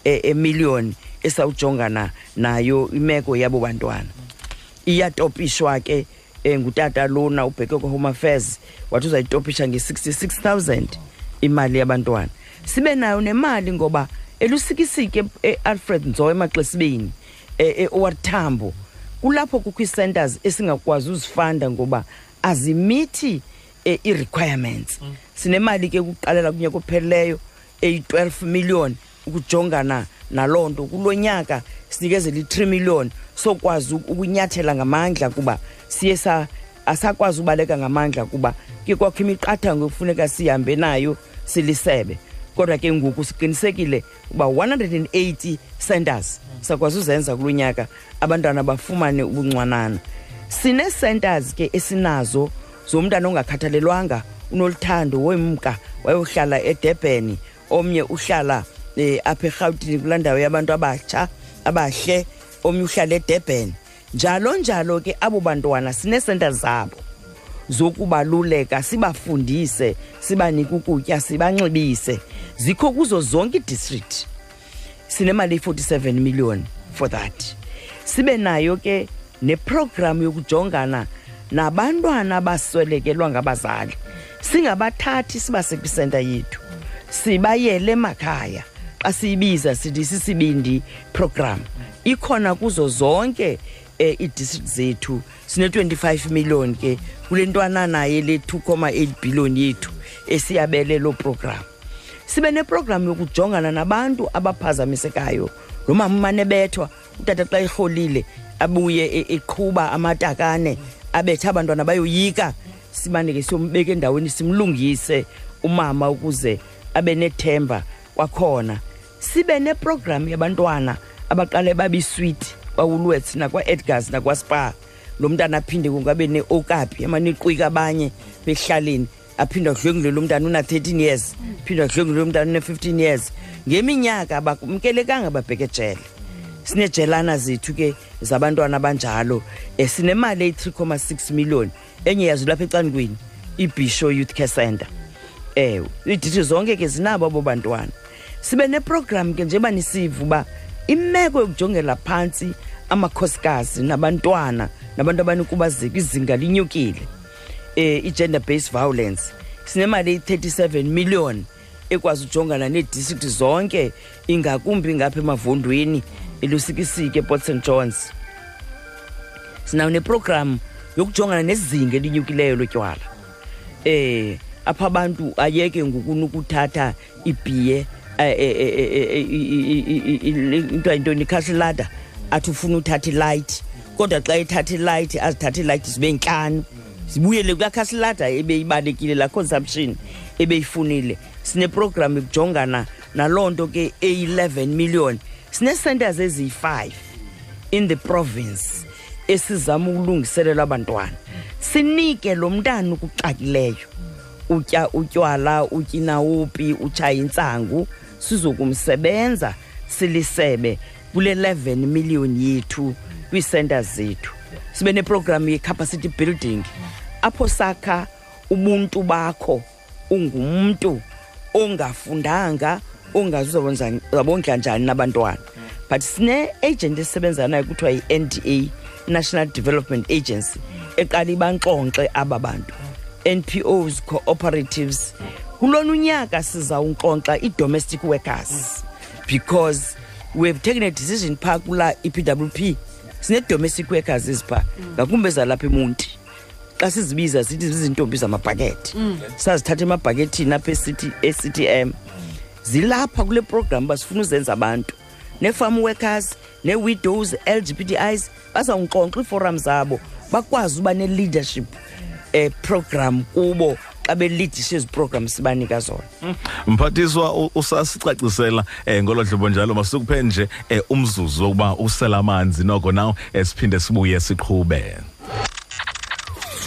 Speaker 3: emiliyoni eh, esawujongana nayo imeko yabo bantwana iyatopishwa ke eh, ngutata lona ubheke kwa-home affairs wathi uzayitopisha nge-66 000 imali yabantwana sibe nayo nemali ngoba elusikisike ealfred nzo emaxesibeni eh, eowathambo kulapho kukho ii-centers esingakwazi uzifanda ngoba azimithi eh, ii-requirements sinemali ke kuqalela kunyaka opheleleyo eyi-12 million ukujongana naloo nto kulo nyaka sinikezela i-3 million sokwazi uk- ukunyathela ngamandla kuba siye sa- asakwazi ubaleka ngamandla kuba ke kwakho imiqathango ekufuneka sihambe nayo silisebe kodwa ke ngoku siqinisekile uba 180 centers sakwazi uzenza kulo nyaka abantwana bafumane ubuncwanana sine-centers ke esinazo zomntana ongakhathalelwanga unoluthando wemka wayohlala edurban omnye uhlala um apha erhawutini kulaa ndawo yabantu abatsha abahle omnye uhlala edurban njalo njalo ke abo bantwana sineesenta zabo zokubaluleka sibafundise sibanike ukutya sibanxibise zikho kuzo zonke idistrict sinemali eyi-47 million for that sibe nayo ke neprogram yokujongana nabantwana abaswelekelwa ngabazali singabathathi sibase kwisenta yethu sibayele emakhaya xa siyibiza sithi sisibindi program ikhona kuzo zonke um iidistrict zethu sine-25 million ke kule ntwana naye le 2,8 billion yethu esiyabele loo program sibe neprogram yokujongana nabantu abaphazamisekayo lo mama umane bethwa utata xa erholile abuye e- eqhuba amatakane abethe abantwana bayoyika simane ke siyombeka endaweni simlungise umama ukuze abe nethemba kwakhona sibe neprogram yabantwana abaqale babiswiti kwawulwets nakwa-edgars nakwaspar lo mntana aphinde kungabe ne-okapi emaniqwika abanye behlaleni aphinde adlwengule lo mntana una-13 years aphinde adlwengule lo mntana una-15 years ngeminyaka abakumkelekanga babheke ejele sinejelana zethu ke zabantwana abanjalo um sinemali eyi-3,6 million enye yazo lapha ecandkwini ibhisho youth care center ewe iidithi zonke ke zinabo abo bantwana sibe neprogram ke njeba nisiva uba imeko yokujongela phantsi amakhosikazi nabantwana nabantu abanikubazeka izinga linyukile um i-gender based violence sinemali eyi-37 million ekwazi ujongana needistrict zonke ingakumbi ngapha emavondweni elusikisike eport st johns sinayo neprogram yokujongana nezinga elinyukileyo lotywala eh apha abantu ayeke ngokunukuthatha ibhiye eh, eh, eh, eh, eh, i- i- i- i- into intoni ikhasilada athi ufuna uthatha ilayithi kodwa xa ethatha ilayithi azithatha ilayithi zibe ntlanu zibuyele kulaa khasilada ebeyibalekile laa consumption ebeyifunile sineprogram yokujongana naloo nto ke eyi-11 million sinee-centers eziyi-five in the province esizama ukulungiselela abantwana sinike lo mntana ukuxakileyo utya utywala utyinawupi utshaya intsangu sizokumsebenza silisebe kule 11 million yethu kwiisenta zethu sibe neprogram ye-capacity building apho sakha ubuntu bakho ungumntu ongafundanga ongazi uzabonza- uzabondla njani nabantwana but sine-agent esebenza nayo kuthiwa yi-nda national development agency eqala ibanxonxe aba bantu NPOs cooperatives kulona unyaka sizawunkonkxa i-domestic workers because we have taken a decision phaa kula i-pwp sine-domestic workers eziphaa ngakumbi ezalapha emonti xa sizibiza sithi zizintombi zamabhakethi sazithatha emabhakethini apha e-CT e-ctm zilapha kule program basifuna uzenza abantu ne-farm workers ne-widows lgbtis bazawunkonkxa iiforam zabo bakwazi uba ne-leadership um program kubo xa belidishe ezi program sibanika zona
Speaker 6: mphathiswa u- usasicacisela um ngolo hlobo njalo masikuphe nje um umzuzu wokuba usela amanzi noko nawo um siphinde sibuye siqhube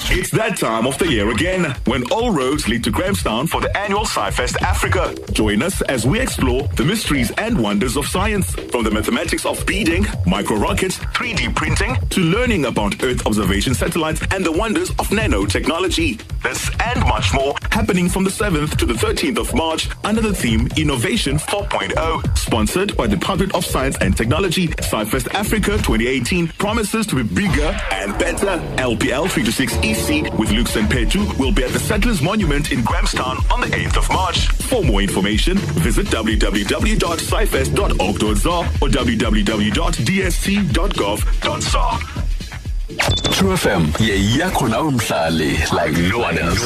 Speaker 2: It's that time of the year again when all roads lead to Grahamstown for the annual SciFest Africa. Join us as we explore the mysteries and wonders of science, from the mathematics of beading, micro rockets, 3D printing, to learning about Earth observation satellites and the wonders of nanotechnology. This and much more happening from the 7th to the 13th of March under the theme Innovation 4.0, oh, sponsored by the Department of Science and Technology. SciFest Africa 2018 promises to be bigger and better. LPL 3 to 6 EC E with Luke Senpetu will be at the Settlers Monument in Grahamstown on the 8th of March. For more information, visit www.scifest.org.za or www.dsc.gov.za.
Speaker 5: True FM yeyakho nawe mhlali like no one else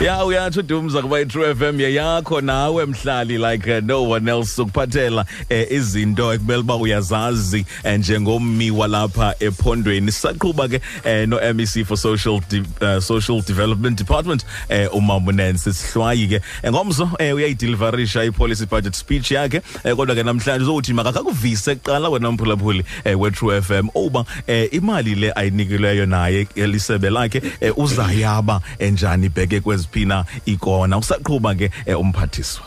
Speaker 6: ya uyatsho udumza kuba i-true f m yeyakho nawe mhlali like uh, no one else ukuphathela um izinto ekumele uba uyazazi eh, njengommi walapha ephondweni sisaqhuba ke um no-mec for social, de uh, social development department um umamunensi sihlwayi ke Eh, ngomso um uyayidilivarisha i-policy budget speech yakhe um kodwa ke namhlanje uzowuthi makakakuvise kuqala wena mphulaphuli um we-true f m uba um imali le ayinikileyo naye elisebe lakhe um uzayaba enjani ibheke kweziphina ikona usaqhuba ke eh, umphathiswa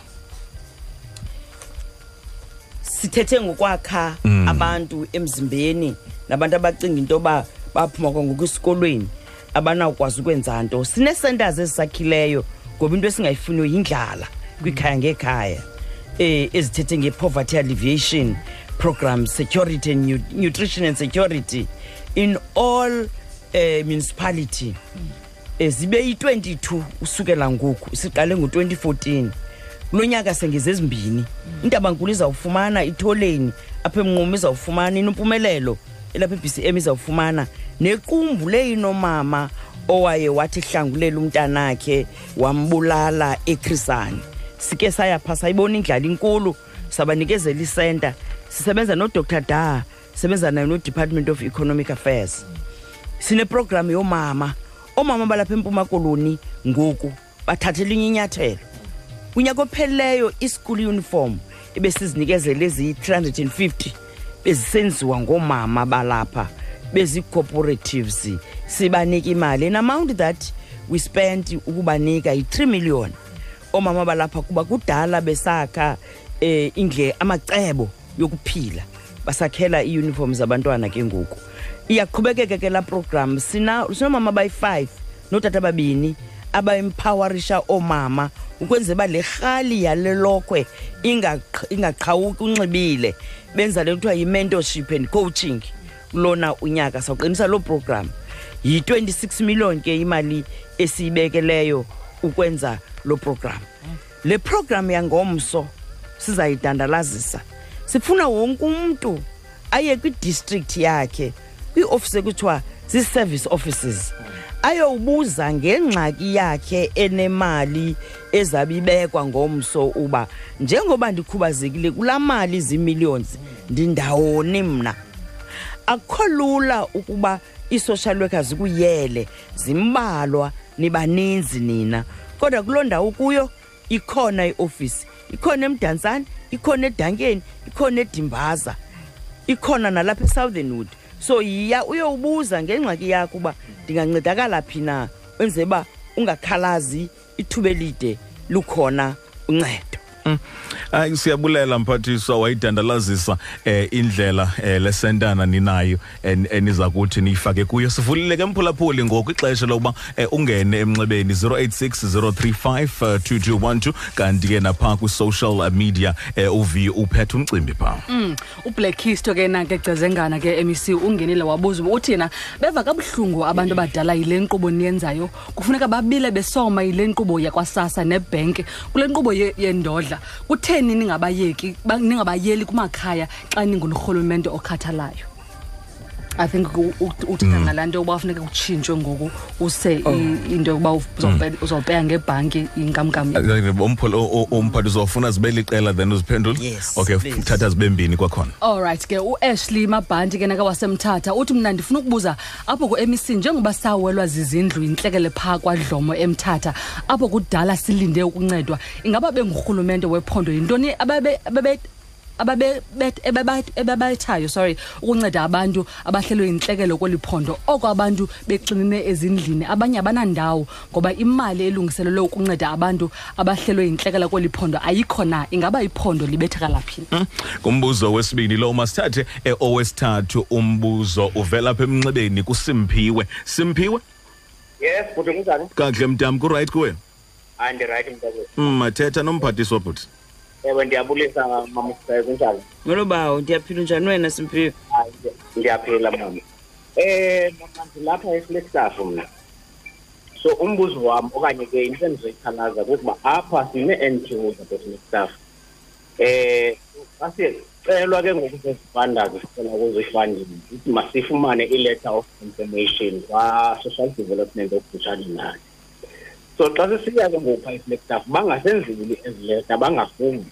Speaker 3: sithethe ngokwakha abantu emzimbeni nabantu abacinga into yoba baphuma kwangoku esikolweni abanawukwazi ukwenza nto sinee-centers ezisakhileyo ngoba into esingayifuniyo yindlala kwikhaya ngekhaya um ezithethe nge-poverty alleviation program security and nu- nutrition and security in all um municipality Eh, zibe yi-22 usukela ngoku siqale ngo-2014 kulo nyaka sengeze ezimbini intabankulu izawufumana itholeni apha emnqumo izawufumana inempumelelo elapha i-bcm izawufumana nequmbu leyinomama owaye wathi hlangulela umntanakhe wambulala ekrisane sike saya phaa sayibona indlala inkulu sabanikezela isenta sisebenza nodr da sisebenza nayo nodepartment of economic affairs sineprogram yoomama oomama balapha empuma koloni ngoku bathathe linye inyathelo unyaka opheleleyo iskul uniform ebesizinikezele eziyi-350 bezisenziwa ngoomama balapha bezi-cooperatives sibanika imali an amount that we spent ukubanika yi-3 million oomama balapha kuba kudala besakha um eh, indle amacebo yokuphila basakhela iiyunifomu zabantwana ke ngoku iyaqhubekeka ke laa program Sina- sinomama abayi-five nootata ababini abaempowerisha oomama ukwenzela uba le rhali yale lokhwe ingaqh- ingaqhawuki unxibile benza le kuthiwa yi-mentorship and coaching kulona unyaka sawuqinisa loo program yi-26 million ke imali esiyibekeleyo ukwenza loo program le program yangomso sizayidandalazisa sifuna wonke umntu aye kwidistrict yakhe kwiiofisi ekuthiwa zii-service offices ayowubuza ngengxaki yakhe enemali ezabe ibekwa ngomso uba njengoba ndikhubazekile kulaa mali zii-millions ndindawoni mna akukho lula ukuba ii-social worker zikuyele zimbalwa nibaninzi nina kodwa kuloo ndawo kuyo ikhona iofisi ikhona emdantsane ikhona edankeni ikhona edimbaza ikhona nalapha esouthernwood so yiya uyowubuza ngengxaki yakho uba ndingancedakala phi na wenze uba ungakhalazi ithuba elide lukhona uncedo
Speaker 6: Mm. hayi siyabulela mphathiswa wayidandalazisa eh, indlela eh, lesentana ninayo en- eniza kuthi niyifake kuyo sivulileke mphulaphuli ngoku ixesha lokuba eh, ungene emnxebeni 086 035 kanti ke napha kwi-social media eh, uv uphethe umcimbi phaa
Speaker 3: Mm.
Speaker 4: ublackist Hmm. ke na ke gcezengana ke mec ungenile wabuza uba uthi yena beva kabuhlungu abantu abadala yile nkqubo niyenzayo kufuneka babile besoma yile nkqubo yakwasasa nebhenki kule nkqubo ye- yendodla kutheni ningabayeki ba- ningabayeli kumakhaya xa ningulurhulumente okhathalayo i think u- u- uthetha ngalaa nto yokuba funeka kutshintshwe ngoku use i- into yokuba uzawupe- uzawupeya ngebhanki
Speaker 6: Eh,
Speaker 4: inkamnkam
Speaker 6: umphathiswa ufuna zibe liqela then uziphendule
Speaker 3: Yes,
Speaker 6: okay
Speaker 3: please.
Speaker 6: thatha zibe mbini kwakhona
Speaker 4: allright ke uashley mabhanti ke naka wasemthatha uthi mna ndifuna ukubuza apho ku-mec njengoba sawelwa zizindlu yintlekele phaa kwadlomo emthatha apho kudala silinde ukuncedwa ingaba bengurhulumente wephondo yintoni ababe- ababe- ababe- bet- ebeba- ebabethayo sorry ukunceda abantu abahlelwe yintlekelo kweli phondo oko abantu bexinene ezindlini abanye abanandawo ngoba imali elungiselelwe ukunceda abantu abahlelwe yintlekela kweli phondo ayikho na ingaba iphondo libethakalaphini
Speaker 6: Mm. kumbuzo wesibini lo masithathe eh, owesithathu umbuzo uvela apha emnxebeni kusimphiwe simphiwe
Speaker 7: yes Ah, bhuti kunjani
Speaker 6: kakuhle mdam kurayithi kuwe
Speaker 7: andirayithi mntakwethu
Speaker 6: Mm, mathetha nomphathiswa bhuti
Speaker 7: ewe ndiyabulisa mamasisayo kunjani
Speaker 3: ngolo bawo ndiyaphila njani wena simpiwe
Speaker 7: Hayi, ndiya- ndiyaphila mama um mama ndilapha eflexaf mna so umbuzo wam okanye ke into endizoyikhalaza kukuba apha sine-n p o zabeflexaf um asicelwa ke ngoku zezifandazi sicela kuzo ifandini ithi masifumane i-letter of confirmation kwa-social development okufutshane nayo so xa sisiya ke ngoku phaa iflexaf bangasenzeli ezi letter bangafuni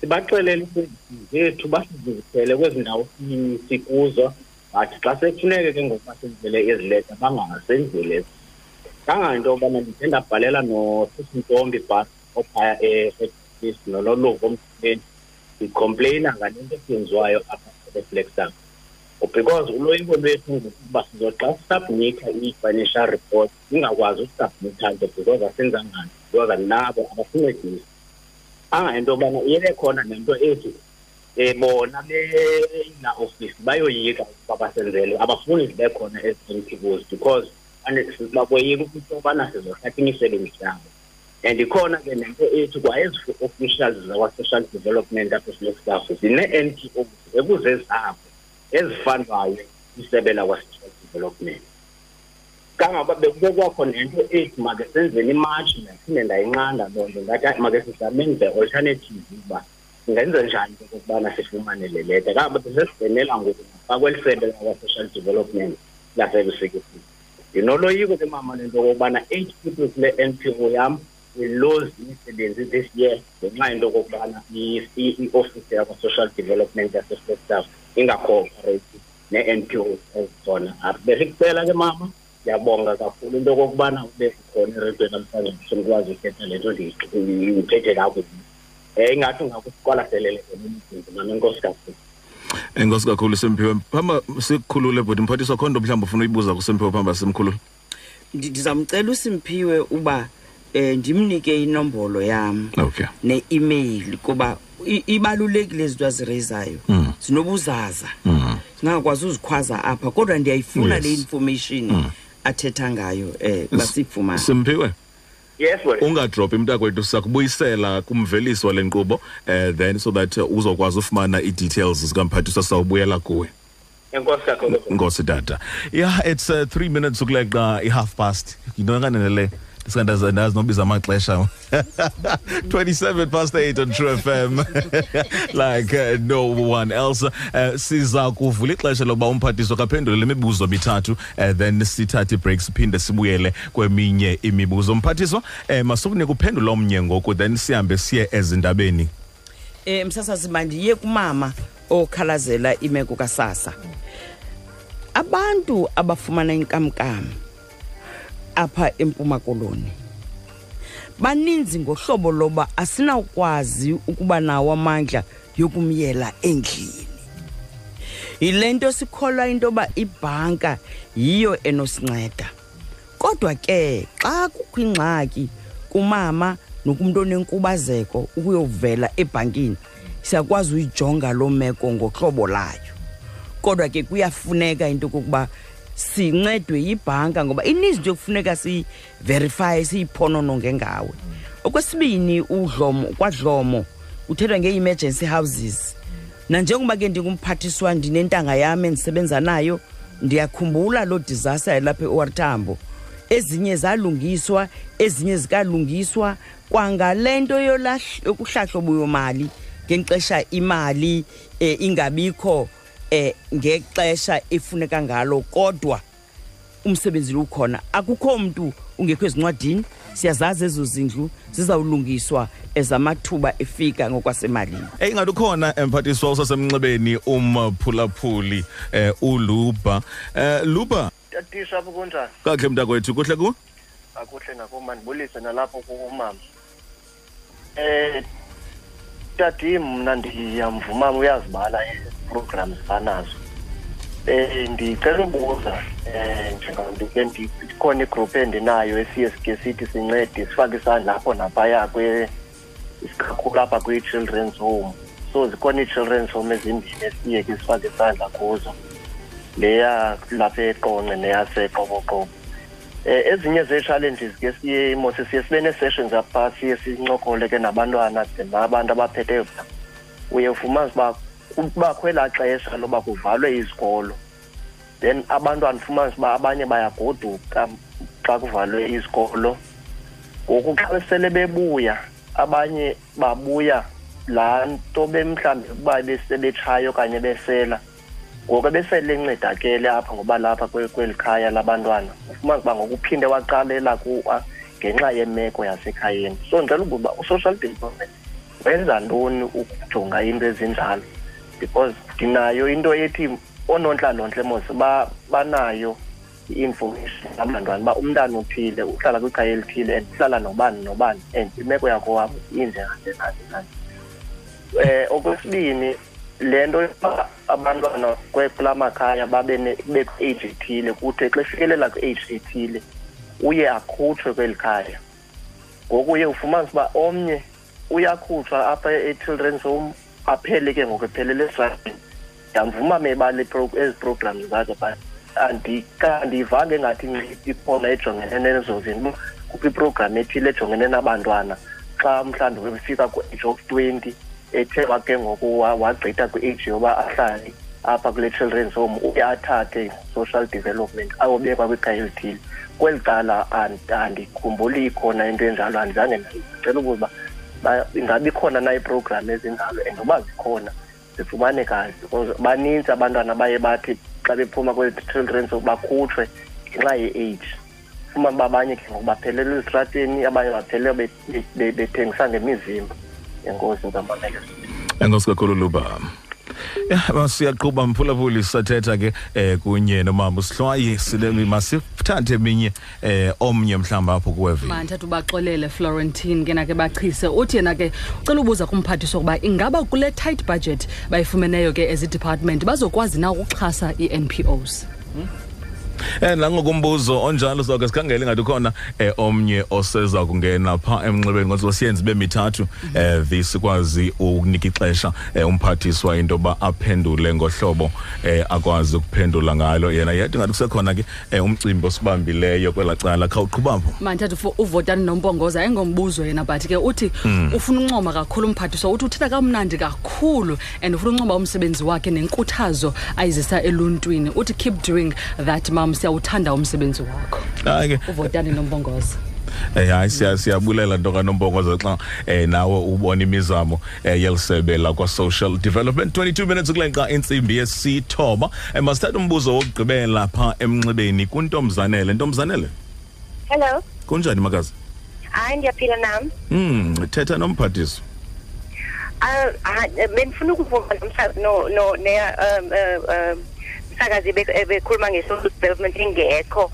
Speaker 7: sibaxelele isezizi zethu basizisele kwezi ndawo si- sikuzo but xa sekufuneke ke ngoku basenzele ezileta bangasenzeli ezi kanganto yobana ndithe ndabhalela nosesintombi bhasi ophaya e-eis nololuvo omdibeni ndikhompleyina ngale nto esenziwayo apha eflexam because uloyiko lwethu ngokuba sizo xa sisubmitha i-financial report singakwazi ukusubmitha nto because asenzanga nto because nabo abasincedisi angayinto yobana iyele khona nento ethi um bona bela ofisi bayoyika ukuba basenzele abafuni zibe khona ezi-mpos e because e, bakoyika into yobana sizothatha imisebenzi yabo and ikhona ke nento ethi e, kwa ezi officials zakwa-social development aphesilestaff zine-n p os ekuze zabo e ezifandwayo isebe lakwa-social development kangoba bekube kwakho nento ethi make senzeni imatshi ndaphinde ndayinqanda loo nto ndathi hayi, make sizameni ze-alternative uba singenze njani ke okokubana sifumane le leta kangoba besesizenela ngoku nakweli sebe lakwa-social development lasebusekisini ndinoloyiko ke mama lento okokubana eight people kule n p o yam iloze imisebenzi this year ngenxa yento E okokubana i- i- iofisi yakwa-social development yasestaff ingakhooperative ne-n p os ezizona apha besikucela ke mama ndiyabonga kakhulu into okokubana ube khona eredweni namhlanje ndisendikwazi uthetha le nto ndiyiqi- ndiyithethe kakubi um ingathi ungakusiqwalaselele kona umzinzi mam enkosi kakhulu
Speaker 6: enkosi kakhulu simphiwe phamba sikukhulule bhuti mphathiswa kho nto mhlawumbi ufuna uyibuza kusimphiwe phamba simkhulule
Speaker 3: Ndi- ndizamcela usimpiwe uba um ndimnike inombolo yam
Speaker 6: okay
Speaker 3: ne-imeyili kuba i- ibalulekile ezi nto azireyizayo
Speaker 6: Mm.
Speaker 3: zinobuzaza
Speaker 6: mm.
Speaker 3: singakwazi uzikhwaza apha kodwa ndiyayifuna
Speaker 6: Yes.
Speaker 3: le information athetha ngayo um basifumane
Speaker 6: simphiwe
Speaker 7: yes wena
Speaker 6: ungadrophi mntakwethu sakubuyisela kumvelisi wale nkqubo eh, then so that uh, uzokwazi ufumana ii-details zikamphathiswa sawubuyela kuwe
Speaker 7: enkosi kakhulu
Speaker 6: ngosi data yeah it's uh, three minutes ukuleqa i-half past yinto kanenele ndisandazi nobiza amaxesha 27 past 8 on true fm like uh, no one else uh, siza kuvula ixesha lokuba umphathiswa kaphendule le mibuzo mithathu uh, then sithathe ibreak siphinde sibuyele kweminye imibuzo mphathiswa um masukunike uphendula omnye ngoku then sihambe siye ezindabeni
Speaker 3: um msasazi mandiye kumama okhalazela imeko kasasa abantu abafumana inkamnkam apha empuma koloni baninzi ngohlobo loba asinawukwazi ukuba nawo amandla yokumyela endlini yile nto sikholwa into yoba ibhanka yiyo enosinceda kodwa ke xa kukho ingxaki kumama nokumuntu onenkubazeko ukuyovela ebhankini siyakwazi uyijonga loo meko ngohlobo layo kodwa ke kuyafuneka into kokuba sincedwe yibhanka ngoba ininzi nje kufuneka siyiverifye siyiphonononge ngawe okwesibini udlomo kwadlomo kuthethwa ngee-emergency houses nanjengoba ke ndingumphathiswa ndinentanga yam endisebenza nayo ndiyakhumbula loo disaster elapha e-or tambo ezinye zalungiswa ezinye zikalungiswa kwangale nto yolah- yokuhlahlobuyomali ngexesha imali um ingabikho um ngexesha efuneka ngalo kodwa umsebenzi lo ukhona akukho mntu ungekho ezincwadini siyazazi ezo zindlu zizawulungiswa ezamathuba efika ngokwasemalini
Speaker 2: Eh ingathi ukhona emphathiswa usasemnxebeni umphulaphuli eh uLuba. Eh Luba
Speaker 8: tatisha apho kunjani
Speaker 2: kakhe mntakwethu kuhle ku?
Speaker 8: akuhle ngakuma ndibulise nalapho kumama eh tati mna ndiyamvuma uyazibala ii-programs banazo eh ndicela ubuza eh njengabantu ke ndi- ikhona igroup endinayo esiye sike sithi sincede sifake isandla apho naphaya kwe isikakhulu apha kwi-children's home so zikhona ii-children's home ezimbini esiye ke sifake isandla kuzo leya lapha eqonqe neyaseqoboqobo eh ezinye ze-challenges ke siye mose siye sibe nee-sessions apha siye sincokole ke nabantwana de nabantu abaphetheyo pha uye ufumanise uba kubakho elaa xesha loba kuvalwe izikolo then abantwana ufumanise uba abanye bayagoduka xa kuvalwe izikolo ngoku xa sele bebuya abanye babuya laa nto bemhlawumbi ukuba besebetshaya okanye besela ngoku beselencedakele apha ngoba lapha kwe- kweli khaya labantwana ufumana uba ngokuphinde waqalela kuwa ngenxa yemeko yasekhayeni so ndicela ukuba u-social development wenza ntoni ukujonga into ezinjalo because ndinayo into ethi oonontlalontle mos ba- banayo i-information abantwana uba umntana uthile uhlala kwikhaya elithile and uhlala nobani nobani and imeko yakho wabo injenganje kanje kanje eh okwesibini lento yokuba abantwana kwe- kula makhaya babe ne- bekwi-age ethile kuthe xa efikelela kwi-age ethile uye akhutshwe kweli khaya ngoku uye ufumanise uba omnye uyakhutshwa apha e-children's home aphele ke ngoku ephelele esrabhini ndamvuma mebali ezi programs zakhe but andiyivange engathi nciti khona ejongene nezo zinto uba kukho iprogram ethile ejongene nabantwana xa mhlawumbi befika ku-age of twenty ethe wa ke ngoku wa- wagqitha kwi-age yoba ahlale apha kule children's home uye athathe social development ayobekwa kwikhaya elithile kweli cala and- andikhumbuli ikhona into enjalo andizange ndayi- ndicela ukuba ba- ingabi khona na iiprogram ezinjalo and uba zikhona zifumane kazi because baninzi abantwana baye bathi xa bephuma kweli children's home bakhutshwe ngenxa ye-age fumana uba abanye ke ngoku baphelele ezitrateni abanye baphelele be- be- be- bethengisa ngemizimba enkosi ndizamamele
Speaker 2: Enkosi kakhulu Luba. Ya masiyaqhuba mphulaphuli sathetha ke eh kunye nomama uShlwaye sileli masithathe eminye eh omnye mhlamba apho kuwevini.
Speaker 4: mandithatha ubaxolele florentine ke na ke bachise uthi yena ke ucela ubuza kumphathiswa ukuba ingaba kule tight budget bayifumeneyo ke ezidepartment bazokwazi na ukuxhasa ii-npos
Speaker 2: Eh nangokumbuzo onjalo soke sikhangele ngathi khona eh omnye oseza kungena pha emnxebeni ngoba siyenze be mithathu eh visikwazi ukunika ixesha eh, umphathiswa into ba aphendule ngohlobo eh akwazi ukuphendula ngalo yena yedwa ngathi kusekhona ke eh, umcimbi osibambileyo kwelacala khawuqhubapho
Speaker 4: mandithatha uvotani nompongoza engombuzo yena but ke uthi ufuna uncoma kakhulu umphathiswa uthi uthetha kamnandi kakhulu and ufuna uncoma umsebenzi wakhe nenkuthazo ayizisa eluntwini uthi keep doing that mam siyawuthanda umsebenzi wakho
Speaker 2: hayi ke
Speaker 4: uvotani nompongoza
Speaker 2: Eh, hayi siya- siyabulela nto kanombongoza xa eh, nawe ubona imizamo eh, yeli sebe lakwa-social development 22 minutes ukulenqa intsimbi yesithoba eh, masithatha umbuzo wokugqibela pha emnxibeni kuntomzanele ntomzanele
Speaker 9: Hello.
Speaker 2: kunjani makazi
Speaker 9: Hayi ndiyaphila nam.
Speaker 2: mm, thetha nomphathiso
Speaker 9: Ah, ah, bendifuna ukuvuma nomsa- no no ne um eh, um sakazi bekhuluma nge-social development ingekho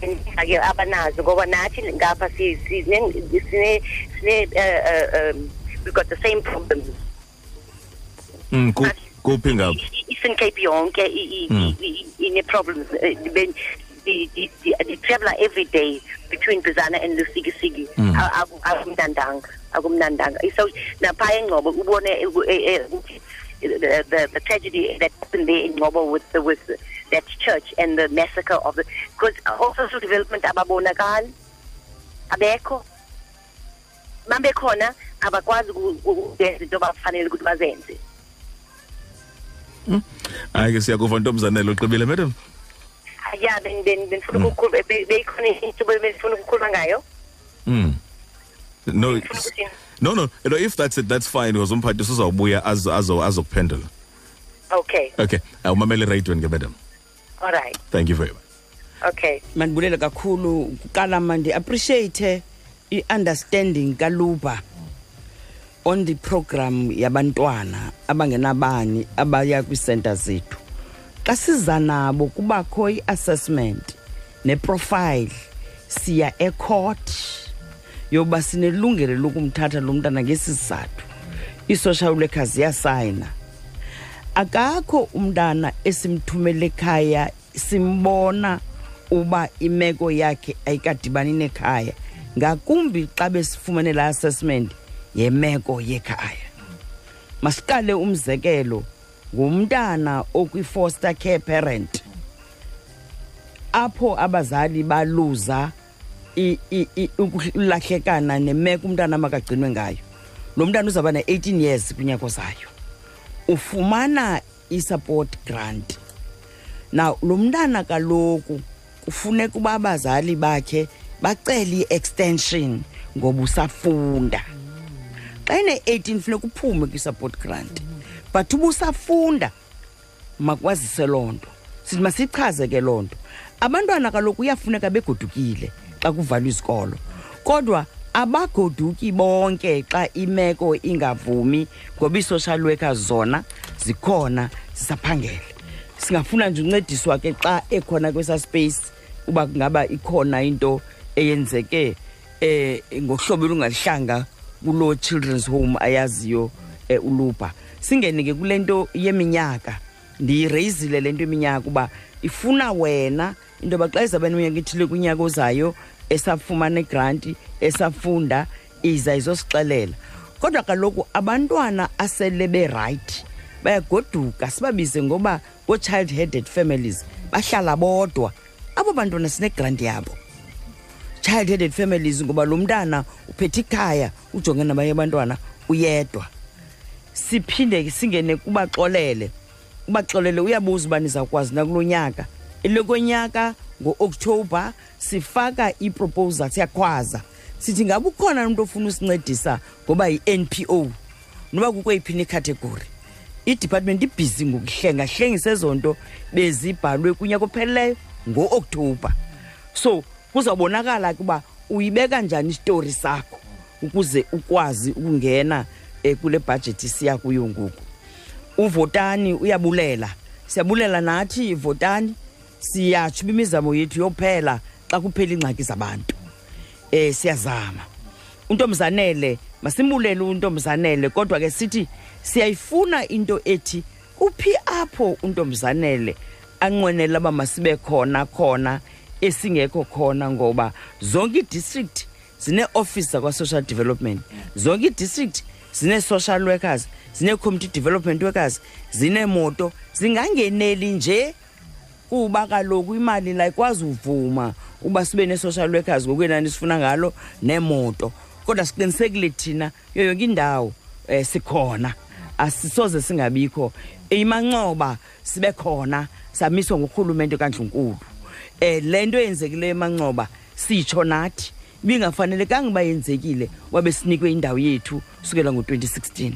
Speaker 9: ke abanazo ngoba nathi ngapha si- si- sine sine eh, eh, um we've got the same problem
Speaker 2: mm, ku- kuphi ngapha
Speaker 9: Eastern Cape yonke i- i- i- i- ine problems eh, ben- the, the, the, the traveler every day between Bizana and Lusikisiki A- aku- akumnandanga akumnandanga so naphaya engcobo ubone eh, eh, eh, ukuthi the, the, the tragedy that happened there in Ngobo with the, with that church and the massacre of the because also social development ababonakali abekho mabekhona abakwazi uku- uku- ukwenza into bafanele ukuthi bazenze
Speaker 2: hayi ke siyakuva ntombzanelo uqibile madam
Speaker 9: ya ben- ben- bendifuna ukukhulu- eh, be- beyikhona into bendifuna ukukhuluma ngayo
Speaker 2: Mm. no
Speaker 9: Ndifuna ukuthini?
Speaker 2: no no no if that's it that's fine because umphathi usuzawubuya azo- azo- azokuphendula
Speaker 9: okay
Speaker 2: okay uh, umamele erayidweni ke madam
Speaker 9: all right
Speaker 2: thank you very much
Speaker 9: okay
Speaker 3: mandibulele kakhulu kuqala mandiappreciate i-understanding kaluba on the program yabantwana abangenabani abaya kwiisenta zethu xa siza nabo kubakho i-assessment neprofile siya ecourt yoba sinelungelo lokumthatha lo mntana ngesi sizathu ii-social workers ziyasayina akakho umntana esimthumele ekhaya simbona uba imeko yakhe ayikadibani nekhaya ngakumbi xa besifumene la assessment yemeko yekhaya masiqale umzekelo ngumntana okwi-foster care parent apho abazali baluza i- i- i- ukulahlekana nemeko umntana makagcinwe ngayo lo mntana uzawuba ne-18 years kwinyako zayo ufumana i-support grant now lo mntana kaloku kufuneka uba abazali bakhe bacele i-extension ngoba usafunda xa ene-18 funeka uphume kwi-support grant but uba usafunda makwazise loo nto Sithi masiyichaze ke loo nto abantwana kaloku uyafuneka begodukile xa kuvalwa izikolo kodwa abagoduki bonke xa imeko ingavumi ngoba ii-social workers zona zikhona zisaphangele singafuna nje uncediswa ke xa ekhona kwesa space uba kungaba ikhona into eyenzeke eh ngohlobo olungalihlanga kulo children's home ayaziyo eh, uluba singene ke kule nto yeminyaka ndiyireyizile le nto iminyaka uba ifuna wena into yoba xa izawuba neminyaka ethile kwinyaka ozayo esafumana igranti esafunda iza izosixelela kodwa kaloku abantwana asele berayithi bayagoduka sibabize ngoba ngoo-child headed families bahlala bodwa abo bantwana sinegranti yabo child headed families ngoba lo mntana uphethe ikhaya ujonge nabanye abantwana uyedwa siphinde singene kubaxolele ubaxolele uyabuza uba nizawukwazi nakulo nyaka elokonyaka ngo-okthobha sifaka iproposal siyakhwaza sithi ngabe ukhona umntu ofuna usincedisa ngoba yi-n p o noba kukweyiphi na ikhategori idepartment ibhizi ngokuhlengahlengisa ezo nto bezibhalwe kunyaka opheleleyo ngo-okthobha so kuzawubonakala ke uba uyibeka njani isitori sakho ukuze ukwazi ukungena um kule bhajethi siya kuyo ngoku uvotani uyabulela siyabulela nathi votani siyatsho uba imizamo yethu yophela xa kuphela iingxaki zabantu um siyazama untombzanele masimbulele untombzanele kodwa ke sithi siyayifuna into ethi kuphi apho untombzanele anqwenela uba masibe khona khona esingekho khona ngoba zonke idistrict zine-ofisi zakwa-social development zonke idistrict zine-social workers zine-community development workers zineemoto zingangeneli nje kuba kaloku imali la ikwazi uvuma uba sibe ne-social workers ngokwenani sifuna ngalo neemoto kodwa siqinisekile thina yo yonke indawo um eh, sikhona asisoze singabikho imancoba sibe khona samiswa ngurhulumente kandlunkulu um le nto eyenzekileyo emancoba sitsho nathi ibingafanelekanga uba yenzekile wabe sinikwe indawo yethu sukela ngo-2016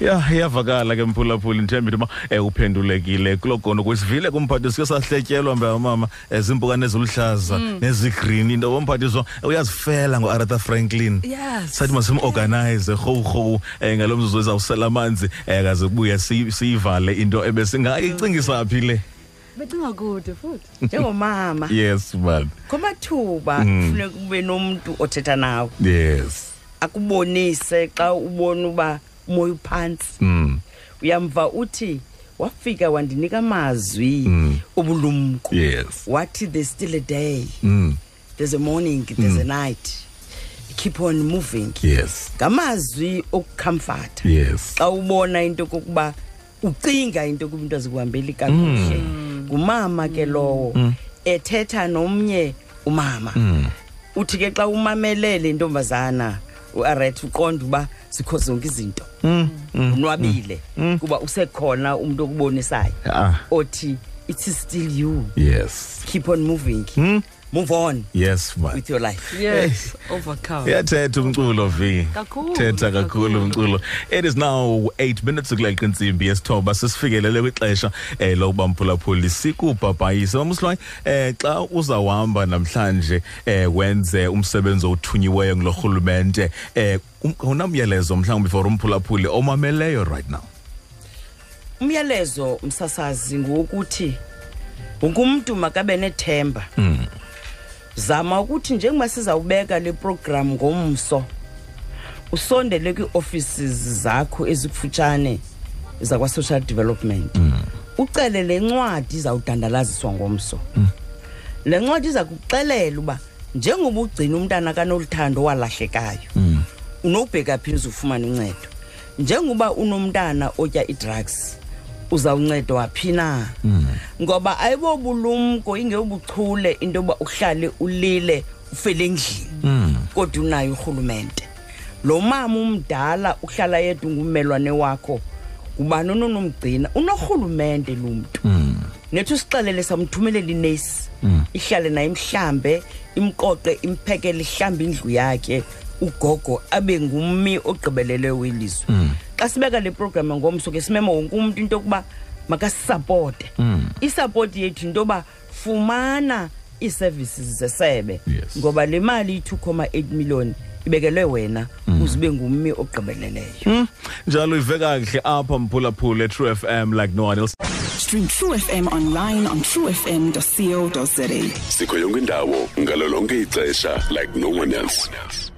Speaker 2: ya iyavakala ke mphulaphuli ndithemba into uba um uphendulekile kulo gona kwesivile kumphathi sike sahletyelwa mbeamama um ziimpukane eziluhlaza nezigrini into yobomphathiswa uyazifela ngoarthur franklin
Speaker 4: Yes.
Speaker 2: sathi masimorganize rhowurhowu um ngalo mzuzu ezawusela amanzi um kaze kubuye siy- siyivale into ebesingayicingisa phi le
Speaker 4: becinga kude futhi
Speaker 3: njengomama
Speaker 2: yes man
Speaker 3: kwamathuba kufuneka ube nomntu othetha nawe
Speaker 2: yes
Speaker 3: akubonise xa ubona uba umoya uphantsi
Speaker 2: mm.
Speaker 3: uyamva uthi wafika wandinika amazwi obulumko
Speaker 2: Mm. Yes.
Speaker 3: wathi there's still a day
Speaker 2: Mm.
Speaker 3: there's a morning there's a night keep on moving
Speaker 2: Yes.
Speaker 3: ngamazwi okucomforta
Speaker 2: Yes.
Speaker 3: xa ubona into kokuba ucinga into kuba into azikuhambeli kakuhle
Speaker 2: Mm.
Speaker 3: ngumama ke lowo ethetha nomnye umama
Speaker 2: Mm.
Speaker 3: uthi ke xa umamelele intombazana uaret uqonda uba zikho zonke izinto
Speaker 2: Mm.
Speaker 3: unwabile kuba usekhona umntu okubonisayo
Speaker 2: Ah.
Speaker 3: othi it is still you
Speaker 2: Yes. Hmm?
Speaker 3: keep on moving move on
Speaker 2: Yes, man.
Speaker 3: with your life
Speaker 4: yes overcome
Speaker 2: yathetha umculo v
Speaker 4: Kakhulu,
Speaker 2: thetha kakhulu umculo it is now 8 minutes ukuleqa intsimbi yesithoba sesifikelele kwixesha um lokuba mphulaphuli sikubhabhayise mamsiloyi um xa uzawuhamba namhlanje um wenze umsebenzi owuthunyiweyo ngulo rhulumente um unamyalezo mhlawumbi for umphulaphuli omameleyo right now
Speaker 3: umyalezo msasazi ngokuthi wonke umuntu makabe nethemba zama ukuthi njengoba sizawubeka le program ngomso usondele kwii-offices zakho ezikufutshane zakwa-social development ucele le ncwadi izawudandalaziswa ngomso le ncwadi iza kuxelela uba njengoba ugcina umntana kanoluthando walahlekayo unobheka phezulu ufumane uncedo njengoba unomntana otya i-drugs uzawuncedwa phi na ngoba ayibobulumko ingeyobuchule into yoba uhlale ulile ufele endlini kodwa unayo urhulumente lo mama umdala uhlala yedwa ngummelwane wakho ngubani ononomgcina unorhulumente lumntu nethi usixelele samthumelela inesi ihlale naye mhlambe imqoqe imphekele ihlambe indlu yakhe ugogo abe ngummi ogqibelele welizwe xa sibeka le program ngomso ke simema wonke umntu into yokuba makasisapote isapoti yethu into yoba fumana ii-services zesebe
Speaker 2: Yes.
Speaker 3: ngoba le mali i-2,8 million ibekelwe wena uze ube ngummi ogqibeleleyo
Speaker 2: njalo ive kakuhle apha mphulaphuli e-true f m like no one else
Speaker 10: Stream True FM online on truefm.co.za.
Speaker 5: sikho yonke indawo ngalo lonke ixesha like no one else